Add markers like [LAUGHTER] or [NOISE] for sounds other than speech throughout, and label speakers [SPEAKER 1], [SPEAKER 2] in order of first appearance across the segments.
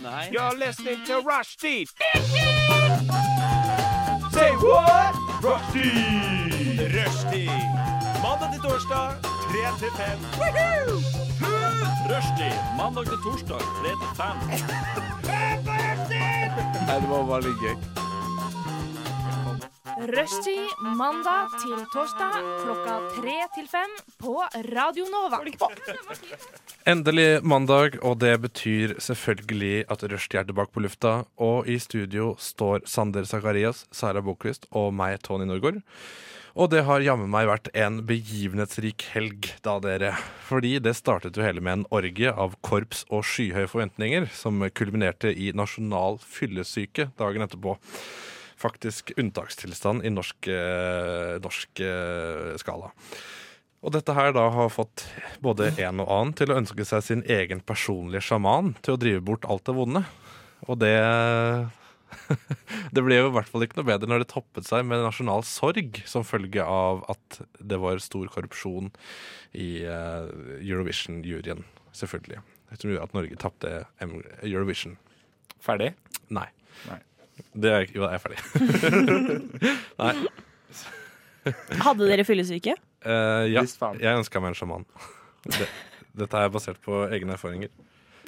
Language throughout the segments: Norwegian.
[SPEAKER 1] Nei.
[SPEAKER 2] You're listening to Rushdie. Say what? Rushdie. Rushdie. Mandag til torsdag, 3 til 5.
[SPEAKER 1] Rushdie mandag til torsdag 3 til 5.
[SPEAKER 3] Nei, det var bare litt gøy.
[SPEAKER 4] Rushtid mandag til torsdag klokka tre til fem på Radio Nova.
[SPEAKER 3] Endelig mandag, og det betyr selvfølgelig at Rushdie er tilbake på lufta. Og i studio står Sander Sakarias, Sara Bokvist og meg, Tony Norgård. Og det har jammen meg vært en begivenhetsrik helg, da, dere. Fordi det startet jo hele med en orgie av korps og skyhøye forventninger, som kulminerte i nasjonal fyllesyke dagen etterpå. Faktisk unntakstilstand i norsk, eh, norsk eh, skala. Og dette her da har fått både en og annen til å ønske seg sin egen personlige sjaman til å drive bort alt det vonde. Og det [LAUGHS] Det ble jo i hvert fall ikke noe bedre når det toppet seg med nasjonal sorg som følge av at det var stor korrupsjon i eh, Eurovision-juryen, selvfølgelig. Som gjorde at Norge tapte em- Eurovision.
[SPEAKER 1] Ferdig?
[SPEAKER 3] Nei.
[SPEAKER 1] Nei.
[SPEAKER 3] Det er, jo, jeg er ferdig. Nei.
[SPEAKER 5] Hadde dere fyllesyke?
[SPEAKER 3] Eh, ja,
[SPEAKER 1] Visst faen.
[SPEAKER 3] jeg ønska meg en sjaman. Det, dette er basert på egne erfaringer.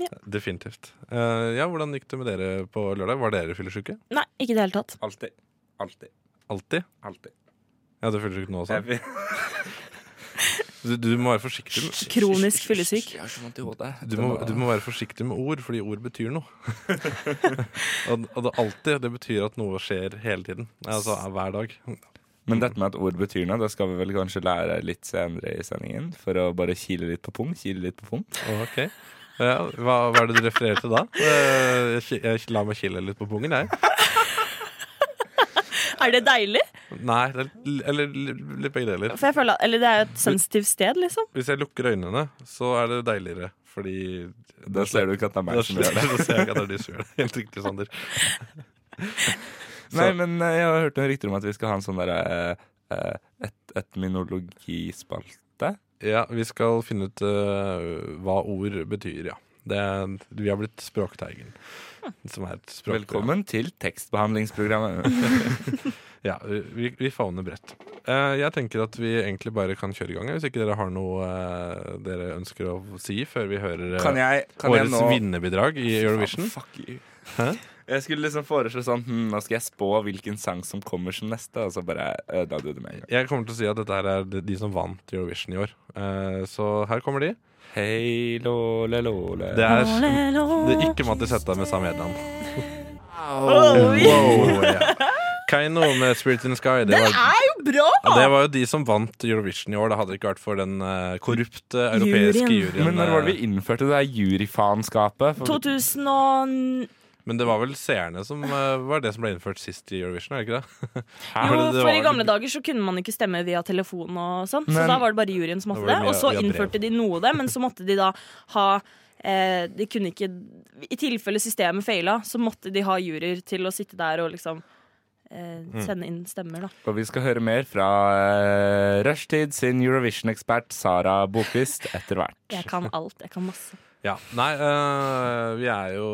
[SPEAKER 5] Ja.
[SPEAKER 3] Definitivt. Eh, ja, Hvordan gikk det med dere på lørdag? Var dere fyllesyke?
[SPEAKER 5] Nei, ikke i det hele tatt.
[SPEAKER 1] Alltid. Alltid.
[SPEAKER 3] Alltid?
[SPEAKER 1] Alltid.
[SPEAKER 3] Ja, du er fyllesyk nå også?
[SPEAKER 1] Jeg [LAUGHS] vet-
[SPEAKER 3] Du, du må være forsiktig med
[SPEAKER 5] Kronisk fyllesyk.
[SPEAKER 1] Jeg har så vondt i hodet.
[SPEAKER 3] du må, du må være forsiktig med ord, fordi ord betyr
[SPEAKER 1] [LAUGHS]
[SPEAKER 3] noe. og, og det alltid, det betyr at noe skjer hele tiden. Altså hver dag.
[SPEAKER 1] Men dette med at ord betyr noe, det skal vi vel kanskje lære litt senere i sendingen. For å bare kile litt på pung, kile litt på pung.
[SPEAKER 3] Ok ja, hva, hva er det du refererer til da? Eh, jeg, jeg, la meg kile litt på pungen, jeg.
[SPEAKER 5] Er det deilig?
[SPEAKER 3] Nei, det er- eller litt begge deler.
[SPEAKER 5] For jeg føler at, eller det er jo et sensitivt sted, liksom.
[SPEAKER 3] Hvis jeg lukker øynene, så er det deiligere. Fordi
[SPEAKER 1] Da ser du ikke at det er
[SPEAKER 3] Da
[SPEAKER 1] meg som
[SPEAKER 3] ser [LAUGHS]
[SPEAKER 1] gjør det.
[SPEAKER 3] da ser jeg ikke at det er du som gjør det. Helt riktig, Sander.
[SPEAKER 1] Nei, men eh, jeg har hørt noen rykter om at vi skal ha en sånn derre eh, eh, et, Etminologispalte.
[SPEAKER 3] Ja, vi skal finne ut øh, hva ord betyr, ja. Det, er- vi har blitt Språkteigen. Som er et språk,
[SPEAKER 1] Velkommen til tekstbehandlingsprogrammet.
[SPEAKER 3] Ja, vi, vi favner bredt. Eh, jeg tenker at vi egentlig bare kan kjøre i gang, ja, hvis ikke dere har noe eh, dere ønsker å si før vi hører eh,
[SPEAKER 1] [LAUGHS] Kan jeg, kan jeg
[SPEAKER 3] årets
[SPEAKER 1] nå
[SPEAKER 3] vinnerbidrag i Eurovision.
[SPEAKER 1] Faen, fuck you.
[SPEAKER 3] Hæ?
[SPEAKER 1] Jeg skulle liksom foreslå sånn hm, Nå skal jeg spå hvilken sang som kommer som neste, og så bare ødela du det med en gang.
[SPEAKER 3] Jeg kommer til å si at dette her er de- de som vant Eurovision i år. Eh, så her kommer de.
[SPEAKER 1] Hei, låle, låle.
[SPEAKER 3] Det er, det er ikke Mattis Hetta med Sam Edland.
[SPEAKER 1] Ah!
[SPEAKER 3] Wow, ja. Keiino med Spirit in the Sky. Det var,
[SPEAKER 5] er jo bra!
[SPEAKER 3] ja, det var jo de som vant Eurovision i år. Det hadde det ikke vært for den eh, korrupte europeiske
[SPEAKER 5] Juryen.
[SPEAKER 3] juryen.
[SPEAKER 1] Men når var
[SPEAKER 3] eh,
[SPEAKER 1] det vi innførte det der juryfaenskapet? For-
[SPEAKER 5] 2000 og
[SPEAKER 3] eh, men det var vel seerne som eh, var det som ble innført sist i Eurovision, er det ikke det? [LAUGHS]
[SPEAKER 1] Hæ?
[SPEAKER 3] men
[SPEAKER 5] Jo,
[SPEAKER 3] det- det
[SPEAKER 5] for
[SPEAKER 3] var
[SPEAKER 5] i
[SPEAKER 3] vel-
[SPEAKER 5] gamle dager så kunne man ikke stemme via telefon og sånn. Så
[SPEAKER 1] Men-
[SPEAKER 5] da var det bare juryen som
[SPEAKER 3] Da var
[SPEAKER 5] måtte det.
[SPEAKER 3] det
[SPEAKER 5] Og
[SPEAKER 3] via-
[SPEAKER 5] så
[SPEAKER 3] via brev.
[SPEAKER 5] innførte de noe av det, men så måtte de da ha eh, De kunne ikke I tilfelle systemet feila, så måtte de ha juryer til å sitte der og liksom eh,
[SPEAKER 3] Mm.
[SPEAKER 5] sende inn stemmer, da.
[SPEAKER 1] Og vi skal høre mer fra uh, Rushtid sin Eurovision-ekspert Sara Bokvist etter
[SPEAKER 5] Jeg
[SPEAKER 1] hvert.
[SPEAKER 5] kan alt. Jeg kan masse.
[SPEAKER 3] Ja, nei, eh, vi er jo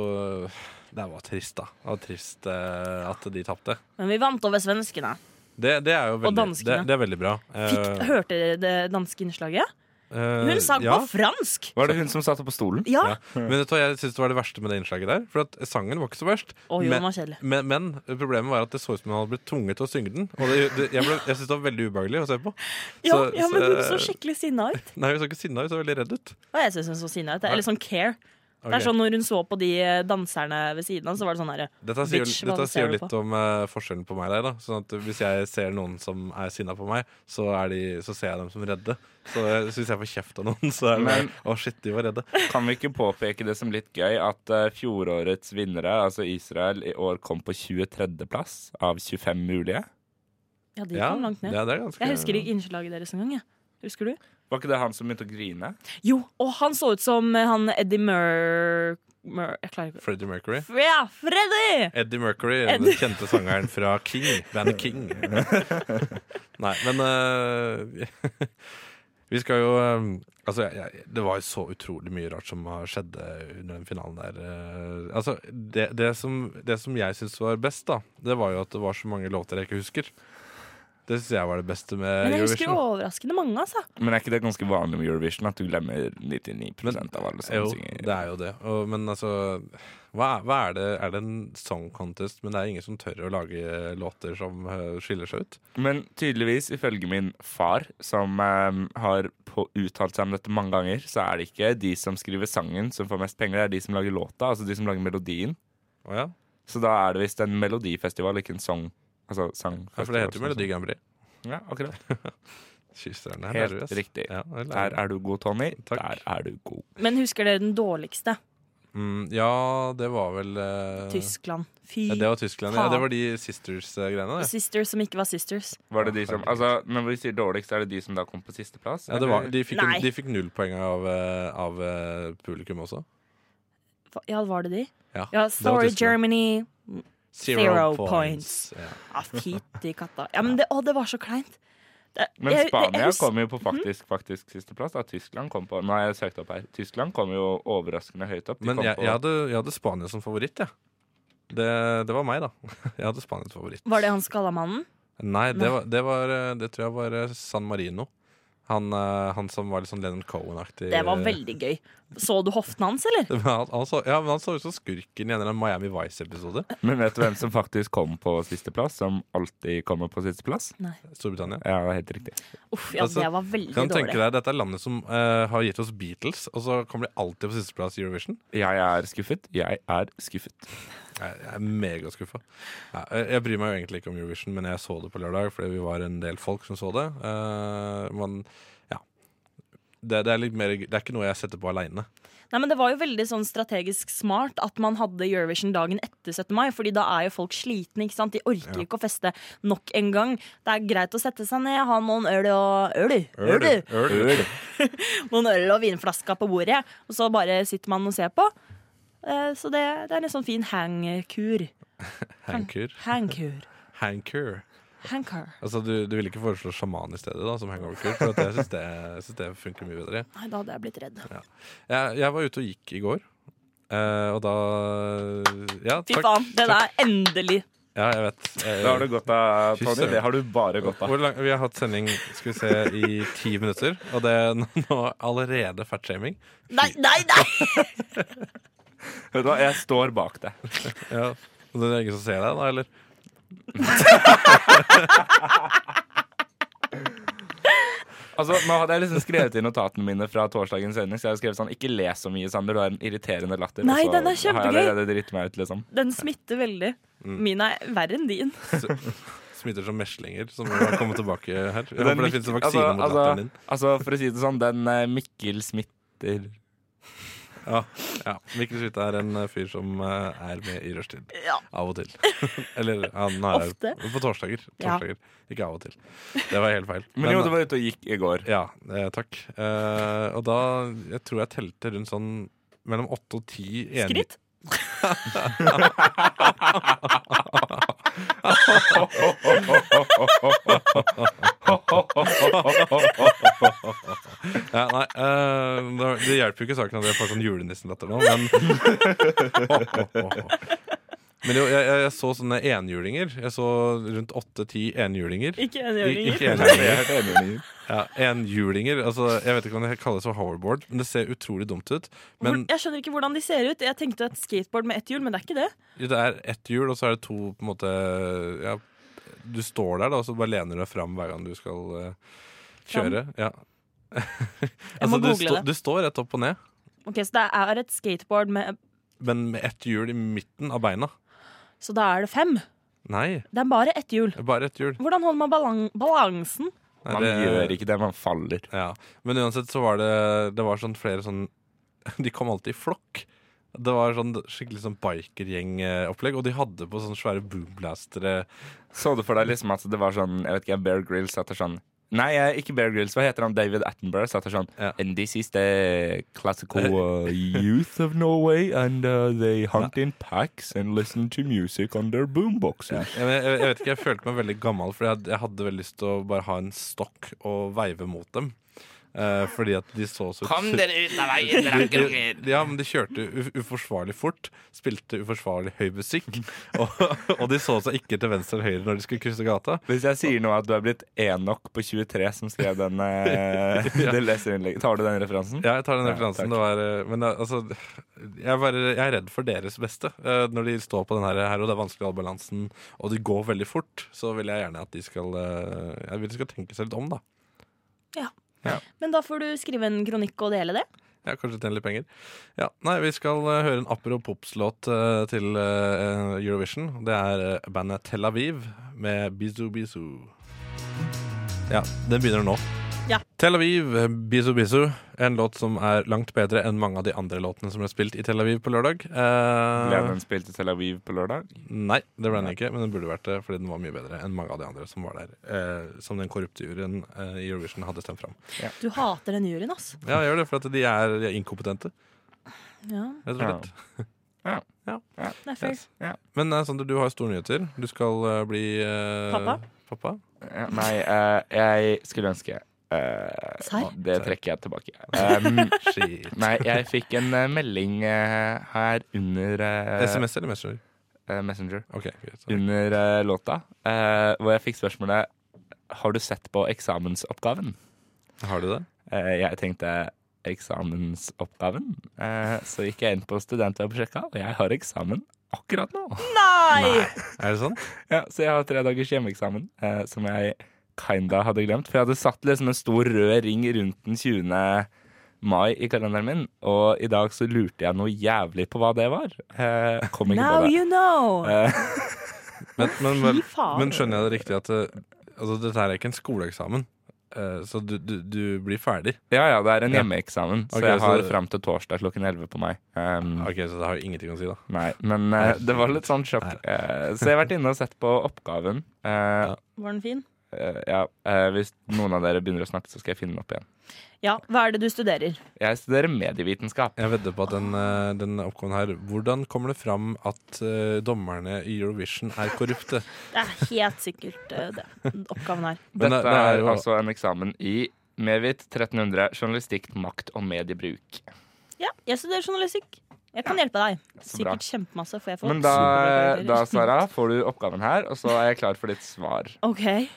[SPEAKER 3] Det var trist, da. Det var trist eh, at de tapte.
[SPEAKER 5] Men vi vant over svenskene.
[SPEAKER 3] Det, det er jo
[SPEAKER 5] Og
[SPEAKER 3] veldig, det,
[SPEAKER 5] danskene.
[SPEAKER 3] det er veldig bra. Eh,
[SPEAKER 5] Fikk, hørte dere det danske innslaget?
[SPEAKER 3] eh,
[SPEAKER 5] Hun sang
[SPEAKER 3] ja.
[SPEAKER 5] på fransk!
[SPEAKER 1] Var det hun som satt opp på stolen?
[SPEAKER 5] Ja!
[SPEAKER 3] Ja. Men vet du hva, jeg synes det var det verste med det innslaget der. For at sangen var ikke så verst.
[SPEAKER 5] Å jo,
[SPEAKER 3] men-
[SPEAKER 5] den var kjedelig.
[SPEAKER 3] Men, men problemet var at det så ut som han hadde blitt tvunget til å synge den. Og det, det, jeg, ble, jeg synes det var veldig ubehagelig å se på.
[SPEAKER 5] [LAUGHS] Ja, ja, men hun
[SPEAKER 3] så-
[SPEAKER 5] så skikkelig sinna ut.
[SPEAKER 3] Nei, Hun så ikke sinna ut, hun så veldig redd ut.
[SPEAKER 5] Og jeg syns hun så sinna ut. Eller sånn care. Det
[SPEAKER 3] Ok.
[SPEAKER 5] er sånn Når hun så på de danserne ved siden av, så var det sånn herre
[SPEAKER 3] Dette sier,
[SPEAKER 5] bitch,
[SPEAKER 3] jo-
[SPEAKER 5] hva
[SPEAKER 3] dette
[SPEAKER 5] ser
[SPEAKER 3] sier jo
[SPEAKER 5] du
[SPEAKER 3] litt om eh, forskjellen på meg der. da Sånn at Hvis jeg ser noen som er sinna på meg, så, er de, så ser jeg dem som redde. Så, jeg- så hvis jeg får kjeft av noen, så er det
[SPEAKER 1] Men-
[SPEAKER 3] bare, Å, shit, de var redde.
[SPEAKER 1] Kan vi ikke påpeke det som litt gøy at eh, fjorårets vinnere, altså Israel, i år kom på 23.-plass av 25 mulige?
[SPEAKER 5] Ja, de
[SPEAKER 3] Ja,
[SPEAKER 5] kom langt ned.
[SPEAKER 3] ja, det er ganske
[SPEAKER 5] Jeg husker ikke innslaget deres engang. jeg. Husker du?
[SPEAKER 1] Var ikke det han som begynte å grine?
[SPEAKER 5] Jo, og han så ut som eh, han Eddie Mur... Mur jeg klarer ikke
[SPEAKER 3] Freddie Mercury.
[SPEAKER 5] F- Ja, Freddy!
[SPEAKER 3] Eddie Mercury,
[SPEAKER 5] Eddie-
[SPEAKER 3] den kjente sangeren fra
[SPEAKER 5] [LAUGHS]
[SPEAKER 3] King. Bandet King. Nei, men eh, [LAUGHS] Vi skal jo eh, Altså, jeg, jeg, det var jo så utrolig mye rart som har skjedd eh, under den finalen der. eh. Altså, det, det, som, det som jeg syns var best, da, det var jo at det var så mange låter jeg ikke husker. Det syns jeg var det beste med
[SPEAKER 5] Men jeg husker
[SPEAKER 3] Eurovision.
[SPEAKER 5] overraskende mange, altså.
[SPEAKER 1] Men er ikke det ganske vanlig med Eurovision at du glemmer 99 av alle som
[SPEAKER 3] Jo, det
[SPEAKER 5] liksom
[SPEAKER 1] synger?
[SPEAKER 3] er jo det. Og, men altså hva, er- hva er det? Er det en song contest, men det er ingen som tør å lage låter som eh, skiller seg ut?
[SPEAKER 1] Men tydeligvis, ifølge min far, som eh, har på, uttalt seg om dette mange ganger, så er det ikke de som skriver sangen som får mest penger, det er de som lager låta, altså de som lager melodien.
[SPEAKER 3] Å ja?
[SPEAKER 1] Så da er det visst en melodifestival, ikke en song. Altså
[SPEAKER 3] ja,
[SPEAKER 1] sangfestival.
[SPEAKER 3] for det heter jo
[SPEAKER 1] som-
[SPEAKER 3] Melodi Grand Prix.
[SPEAKER 1] Ja, akkurat.
[SPEAKER 3] Kysser den her,
[SPEAKER 1] sånn- Helt
[SPEAKER 3] nervøs.
[SPEAKER 1] riktig.
[SPEAKER 3] Ja, jeg er
[SPEAKER 1] Der er du god, Tony.
[SPEAKER 3] Takk.
[SPEAKER 1] Der er du god.
[SPEAKER 5] Men husker dere den dårligste?
[SPEAKER 3] Mm, ja, det var vel eh,
[SPEAKER 5] Tyskland. Fy
[SPEAKER 3] Ja, det var Tyskland, ja.
[SPEAKER 5] faen.
[SPEAKER 3] Det var de Sisters-greiene. det.
[SPEAKER 5] Sisters som ikke var sisters.
[SPEAKER 1] Var det de som, altså, når vi sier dårligst, er det de som da kom på sisteplass?
[SPEAKER 3] Ja, det var, de, fikk,
[SPEAKER 5] Nei.
[SPEAKER 3] de fikk null poeng av, eh, av eh, publikum også.
[SPEAKER 5] Hva- Ja, var det de?
[SPEAKER 3] Ja,
[SPEAKER 5] Ja,
[SPEAKER 3] det var
[SPEAKER 5] Sorry,
[SPEAKER 3] Tyskland.
[SPEAKER 5] Germany. Zero points.
[SPEAKER 3] Ja.
[SPEAKER 5] Ja, fytti katta. Ja, men det, å, det var så kleint. Det-
[SPEAKER 1] Men
[SPEAKER 5] jeg- Mhm. jeg-
[SPEAKER 1] Spania
[SPEAKER 5] jeg hus-
[SPEAKER 1] kom jo på faktisk, faktisk sisteplass. Da. Tyskland kom på Nå har jeg søkt opp her. Tyskland kom jo overraskende høyt opp. De
[SPEAKER 3] Men
[SPEAKER 1] kom
[SPEAKER 3] jeg,
[SPEAKER 1] på,
[SPEAKER 3] jeg, hadde, jeg hadde Spania som favoritt, jeg. Det, det var meg, da. [LAUGHS] Jeg hadde Spania som favoritt.
[SPEAKER 5] Var det han skalla mannen?
[SPEAKER 3] Nei, det,
[SPEAKER 5] Nei.
[SPEAKER 3] var, det, var, eh, det tror jeg var eh, San Marino. Han, eh, han som var litt sånn Leonard Cohen-aktig. eh,
[SPEAKER 5] Det var veldig gøy. Så du hoften hans, eller?
[SPEAKER 3] Men han, han, så, ja, men han så ut som skurken i en eller annen Miami Vice-episode.
[SPEAKER 1] Men vet du hvem som faktisk kom på sisteplass? Som alltid kommer på sisteplass?
[SPEAKER 3] Storbritannia.
[SPEAKER 1] Ja, det er helt riktig.
[SPEAKER 5] Uff, ja,
[SPEAKER 3] Altså,
[SPEAKER 5] det var veldig
[SPEAKER 3] Kan du
[SPEAKER 5] dårlig.
[SPEAKER 3] tenke deg, Dette er landet som eh, har gitt oss Beatles, og så kommer de alltid på sisteplass i Eurovision.
[SPEAKER 1] Jeg er skuffet. Jeg er skuffet.
[SPEAKER 3] Jeg, jeg er megaskuffa. Ja, jeg- jeg bryr meg jo egentlig ikke om Eurovision, men jeg så det på lørdag fordi vi var en del folk som så det. Eh, men ja. Det, det, er litt mer, det er ikke noe jeg setter på aleine.
[SPEAKER 5] Nei, men Det var jo veldig sånn strategisk smart at man hadde Eurovision dagen etter 17. mai. fordi da er jo folk slitne. ikke sant? De orker ikke å feste nok en gang. Det er greit å sette seg ned, ha noen øl og øl, øl, noen øl og vinflaska på bordet, og så bare sitter man og ser på. Eh, Så det, det er en sånn fin hangkur.
[SPEAKER 3] Hanker.
[SPEAKER 5] Hangkur.
[SPEAKER 3] Hanker.
[SPEAKER 5] Hangkur.
[SPEAKER 3] Altså, du, du vil ikke foreslå sjaman i stedet, da, som hangover-kur? For at jeg syns det, jeg synes det funker mye bedre.
[SPEAKER 5] Nei, da hadde jeg blitt redd.
[SPEAKER 3] Jeg, jeg var ute og gikk i går, eh, og da Ja,
[SPEAKER 5] Fy
[SPEAKER 3] takk.
[SPEAKER 5] faen, det der endelig.
[SPEAKER 3] Ja, jeg vet. Eh,
[SPEAKER 1] Det har du godt av,
[SPEAKER 3] Fy
[SPEAKER 1] Tony.
[SPEAKER 3] søren.
[SPEAKER 1] Det har du bare godt av.
[SPEAKER 3] Hvor lang, vi har hatt sending skal vi se, i ti minutter, og det [LAUGHS] er nå allerede fatshaming.
[SPEAKER 5] Nei, nei, nei!
[SPEAKER 1] Vet du hva, jeg står bak deg.
[SPEAKER 3] Ja. Og det er ingen som ser deg, da? eller?
[SPEAKER 1] Altså, nå hadde jeg liksom skrevet i notatene mine fra torsdagens sending, så jeg hadde skrevet sånn Ikke le så mye, Sander. Du har en irriterende latter.
[SPEAKER 5] Nei,
[SPEAKER 1] og så
[SPEAKER 5] den er
[SPEAKER 1] Har
[SPEAKER 5] kjempegøy.
[SPEAKER 1] jeg allerede dritt meg ut, liksom.
[SPEAKER 5] Den smitter veldig.
[SPEAKER 3] Mm.
[SPEAKER 5] Min er verre enn din.
[SPEAKER 3] Smitter som meslinger, som har kommet tilbake her. Jeg
[SPEAKER 1] Den
[SPEAKER 3] håper det
[SPEAKER 1] Mik-
[SPEAKER 3] finnes en vaksine mot
[SPEAKER 1] altså,
[SPEAKER 3] latteren din.
[SPEAKER 1] altså, altså, for å si det sånn, den eh, Mikkel smitter
[SPEAKER 3] Ja, ja. Mikkel Skytte er en eh, fyr som eh, er med i rushtid.
[SPEAKER 5] Ja.
[SPEAKER 3] Av og til. [LAUGHS] Eller han er
[SPEAKER 5] Ofte.
[SPEAKER 3] på torsdager.
[SPEAKER 5] Ja.
[SPEAKER 3] torsdager. Ikke av og til. Det var helt feil.
[SPEAKER 1] Men jo, du var ute og gikk i [LAUGHS] går.
[SPEAKER 3] Ja, eh, takk. Eh, og da Jeg tror jeg telte rundt sånn mellom åtte og ti enig-
[SPEAKER 5] Skritt.
[SPEAKER 3] Ja, nei, eh, det, det hjelper jo ikke saken at jeg får sånn julenissen-latter nå, men [LAUGHS] Men jo, jeg, jeg, jeg så sånne enhjulinger. Jeg så rundt åtte-ti enhjulinger.
[SPEAKER 5] Ikke
[SPEAKER 3] I-
[SPEAKER 5] enhjørninger.
[SPEAKER 3] Ikke enhjulinger. Ja, enhjulinger. Altså, jeg vet ikke om det kalles for hoverboard, men det ser utrolig dumt ut. Men
[SPEAKER 5] Hvor- Jeg skjønner ikke hvordan de ser ut. Jeg tenkte et skateboard med ett hjul, men det er ikke det.
[SPEAKER 3] det er ett hjul, og så er det to på en måte ja, Du står der, da, og så bare lener du deg fram hver gang du skal eh, kjøre. Ja.
[SPEAKER 5] [LAUGHS] Jeg
[SPEAKER 3] altså,
[SPEAKER 5] må
[SPEAKER 3] du,
[SPEAKER 5] google
[SPEAKER 3] stå-
[SPEAKER 5] det.
[SPEAKER 3] du står rett opp og ned,
[SPEAKER 5] Ok, Så det er et skateboard med
[SPEAKER 3] men med ett hjul i midten av beina.
[SPEAKER 5] Så da er det fem.
[SPEAKER 3] Nei,
[SPEAKER 5] Det er bare ett hjul.
[SPEAKER 3] bare ett hjul.
[SPEAKER 5] Hvordan holder man balan balansen?
[SPEAKER 3] Nei,
[SPEAKER 1] Man gjør ikke det, man faller.
[SPEAKER 3] Ja. Men uansett så var det Det var sånn flere sånn [LAUGHS] De kom alltid i flokk. Det var sånn skikkelig sånn bikergjengopplegg, og de hadde på sånne svære boomblastere.
[SPEAKER 1] Så du for deg liksom at det var sånn Jeg vet ikke, Bear Grylls satt der sånn Nei, eh, ikke Bear Grylls. Hva heter han? David Attenborough satt der sånn
[SPEAKER 3] Ja.
[SPEAKER 1] And this is the classical uh, youth of Norway, and uh, they hunt in packs and listen to music on their
[SPEAKER 3] Jeg,
[SPEAKER 1] boomboxes.
[SPEAKER 3] jeg, jeg vet ikke, jeg følte meg veldig gammel, for jeg, had- jeg hadde veldig lyst til å bare ha en stokk og veive mot dem. Eh, eh, fordi at de så så
[SPEAKER 1] Kom dere ut av veien,
[SPEAKER 3] [LAUGHS]
[SPEAKER 1] rakkerakker!
[SPEAKER 3] ja, men de kjørte u uforsvarlig fort, spilte uforsvarlig høy
[SPEAKER 1] [LAUGHS]
[SPEAKER 3] musikk, og, og de så seg ikke til venstre eller høyre når de skulle krysse gata.
[SPEAKER 1] Hvis jeg sier nå at du er blitt Enok på 23 som skrev den, eh, det leserinnlegget, tar du den referansen?
[SPEAKER 3] Ja, jeg tar den
[SPEAKER 1] Ja,
[SPEAKER 3] referansen.
[SPEAKER 1] takk.
[SPEAKER 3] det var, eh, men eh, altså, jeg er, bare, jeg er redd for deres beste. eh, Når de står på den her, her og det er vanskelig å holde balansen, og de går veldig fort, så vil jeg gjerne at de skal, eh, jeg vil de skal tenke seg litt om, da.
[SPEAKER 5] Men da får du skrive en kronikk og dele det.
[SPEAKER 3] Ja, kanskje tjene litt penger. Ja, nei, Vi skal eh, høre en apropos-låt eh, til eh, Eurovision. Det er eh, bandet Tel Aviv med Bizu Bizu. Ja, den begynner nå.
[SPEAKER 5] Ja.
[SPEAKER 3] Tel Aviv, eh, Bizu Bizu. En låt som er langt bedre enn mange av de andre låtene som ble spilt i Tel Aviv på lørdag. Eh,
[SPEAKER 1] Ble den spilt i Tel Aviv på lørdag?
[SPEAKER 3] Nei, det ble den ikke, men den burde vært det fordi den var mye bedre enn mange av de andre som var der. eh, som den korrupte juryen eh, i Eurovision hadde stemt fram.
[SPEAKER 5] Du hater den juryen, ass.
[SPEAKER 3] Ja, jeg gjør det, for at de er, de er inkompetente,
[SPEAKER 5] Ja,
[SPEAKER 3] rett og slett.
[SPEAKER 5] det er fair.
[SPEAKER 3] Yes. Men eh, Sander, du har store nyheter. Du skal eh, bli eh,
[SPEAKER 5] Pappa?
[SPEAKER 3] pappa?
[SPEAKER 1] Ja, nei, eh, jeg skulle ønske eh,
[SPEAKER 5] Serr?
[SPEAKER 1] Det trekker jeg tilbake.
[SPEAKER 3] [LAUGHS]
[SPEAKER 1] Um,
[SPEAKER 3] Shit.
[SPEAKER 1] nei, jeg fikk en eh, melding eh, her under eh,
[SPEAKER 3] SMS eller Messenger?
[SPEAKER 1] eh, Messenger.
[SPEAKER 3] Ok, greit.
[SPEAKER 1] Under eh, låta, eh, hvor jeg fikk spørsmålet Har du sett på eksamensoppgaven?
[SPEAKER 3] Har du det?
[SPEAKER 1] Eh, jeg tenkte eksamensoppgaven. Eh, så gikk jeg inn på studentwebsjekka, og jeg har eksamen akkurat nå.
[SPEAKER 5] Nei!
[SPEAKER 3] Er det sant?
[SPEAKER 1] Ja, så jeg har tre dagers hjemmeeksamen, eh, som jeg kinda hadde glemt. For jeg hadde satt liksom en stor rød ring rundt den 20. mai i kalenderen min, og i dag så lurte jeg noe jævlig på hva det var. Eh, kom ikke på
[SPEAKER 5] Now
[SPEAKER 1] det.
[SPEAKER 5] you know!
[SPEAKER 1] Eh,
[SPEAKER 3] Men, men, men,
[SPEAKER 5] Fy faen.
[SPEAKER 3] men skjønner jeg det riktig at eh, altså, dette her er ikke en skoleeksamen, eh, så du, du, du blir ferdig?
[SPEAKER 1] ja ja, det er en
[SPEAKER 3] Ja.
[SPEAKER 1] hjemmeeksamen, så
[SPEAKER 3] Ok,
[SPEAKER 1] jeg
[SPEAKER 3] så
[SPEAKER 1] har
[SPEAKER 3] det-
[SPEAKER 1] fram til torsdag klokken 11 på meg. Um,
[SPEAKER 3] Ok, Så det har jo ingenting å si, da.
[SPEAKER 1] Nei, men eh, det var litt sånn sjokk.
[SPEAKER 3] Herregud.
[SPEAKER 1] Eh, så jeg har vært inne og sett på oppgaven. Eh,
[SPEAKER 5] Var den fin?
[SPEAKER 1] eh, ja, eh, hvis noen av dere begynner å snakke, så skal jeg finne den opp igjen.
[SPEAKER 5] Ja. Hva er det du studerer?
[SPEAKER 1] Jeg studerer medievitenskap.
[SPEAKER 3] Jeg vedder på at den, eh, den oppgaven her Hvordan kommer det fram at eh, dommerne i Eurovision er korrupte?
[SPEAKER 5] Det er helt sikkert eh, det, oppgaven her.
[SPEAKER 3] Men eh, det-
[SPEAKER 1] Dette
[SPEAKER 3] det er
[SPEAKER 1] er
[SPEAKER 3] jo-
[SPEAKER 1] altså en eksamen i Mevit 1300, journalistikk, makt og mediebruk.
[SPEAKER 5] Ja, jeg studerer journalistikk. Jeg kan hjelpe deg.
[SPEAKER 1] Så bra.
[SPEAKER 5] Sikkert kjempemasse, for jeg får
[SPEAKER 1] Men da,
[SPEAKER 5] superbra karakterer.
[SPEAKER 1] da, Sara, får du oppgaven her, og så er jeg klar for ditt svar.
[SPEAKER 5] [LAUGHS] OK.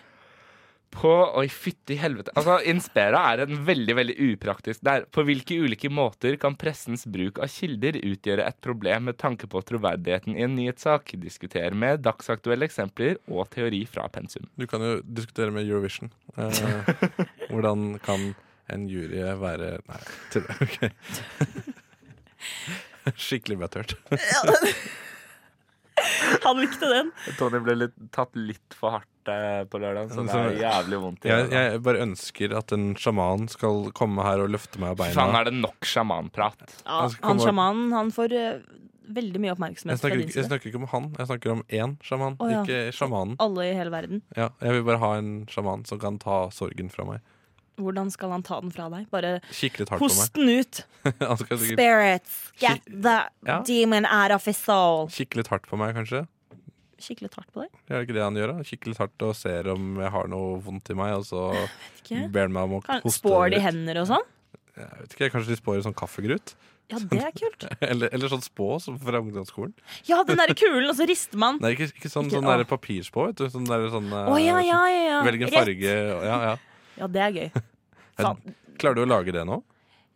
[SPEAKER 1] På Oi, fytti helvete. Altså, Inspera er en veldig veldig upraktisk der. På hvilke ulike måter kan pressens bruk av kilder utgjøre et problem med tanke på troverdigheten i en nyhetssak? Diskuter med dagsaktuelle eksempler og teori fra pensum.
[SPEAKER 3] Du kan jo diskutere med Eurovision. Eh, hvordan kan en jury være Nei, til, ok. Skikkelig butthurt.
[SPEAKER 5] Han likte den.
[SPEAKER 1] Tony ble litt, tatt litt for hardt eh, på lørdag, så det er jævlig vondt. i
[SPEAKER 3] Jeg,
[SPEAKER 1] øret.
[SPEAKER 3] jeg bare ønsker at en sjaman skal komme her og løfte meg av
[SPEAKER 1] Faen,
[SPEAKER 3] beina.
[SPEAKER 1] er det nok sjamanprat?
[SPEAKER 5] Ja,
[SPEAKER 3] Jeg skal
[SPEAKER 5] han
[SPEAKER 3] komme-
[SPEAKER 5] sjamanen han får eh, veldig mye oppmerksomhet
[SPEAKER 3] Jeg
[SPEAKER 5] fra
[SPEAKER 3] snakker,
[SPEAKER 5] din
[SPEAKER 3] ikke- jeg
[SPEAKER 5] side.
[SPEAKER 3] snakker ikke om han, jeg snakker om én sjaman.
[SPEAKER 5] Å, ja.
[SPEAKER 3] Ikke sjamanen.
[SPEAKER 5] Alle i hele verden.
[SPEAKER 3] Ja, jeg vil bare ha en sjaman som kan ta sorgen fra meg.
[SPEAKER 5] Hvordan skal han ta den fra deg? Bare
[SPEAKER 3] Kikke litt hardt på meg. [LAUGHS]
[SPEAKER 5] host den ut.
[SPEAKER 3] Han skal sikkert
[SPEAKER 5] Spirits,
[SPEAKER 3] get
[SPEAKER 5] the
[SPEAKER 3] Ja.
[SPEAKER 5] demon out of his soul.
[SPEAKER 3] kikke litt hardt på meg, kanskje.
[SPEAKER 5] Skikkelig hardt på deg.
[SPEAKER 3] Gjør ikke det han gjør? da? Kikke litt hardt og ser om jeg har noe vondt i meg, og
[SPEAKER 5] [LAUGHS]
[SPEAKER 3] så
[SPEAKER 5] Vet ikke.
[SPEAKER 3] ber han meg om å
[SPEAKER 5] Kan-
[SPEAKER 3] hoste
[SPEAKER 5] Spår de
[SPEAKER 3] litt.
[SPEAKER 5] hender og sånn?
[SPEAKER 3] Jeg vet ikke, Kanskje de spår i sånn kaffegrut? [LAUGHS]
[SPEAKER 5] Ja, det er kult.
[SPEAKER 3] Eller, eller sånn spå som fra ungdomsskolen?
[SPEAKER 5] Ja, den derre kulen, og så rister
[SPEAKER 3] [LAUGHS]
[SPEAKER 5] man.
[SPEAKER 3] Nei, ikke, ikke sånn,
[SPEAKER 5] Ikke-
[SPEAKER 3] sånn der papirspå, vet du. Sånn der, sånn,
[SPEAKER 5] Å ja, ja, ja, ja.
[SPEAKER 3] Velg en
[SPEAKER 5] Rett.
[SPEAKER 3] farge. og- Ja, ja.
[SPEAKER 5] Ja, det er gøy. Faen.
[SPEAKER 3] Klarer du å lage det nå?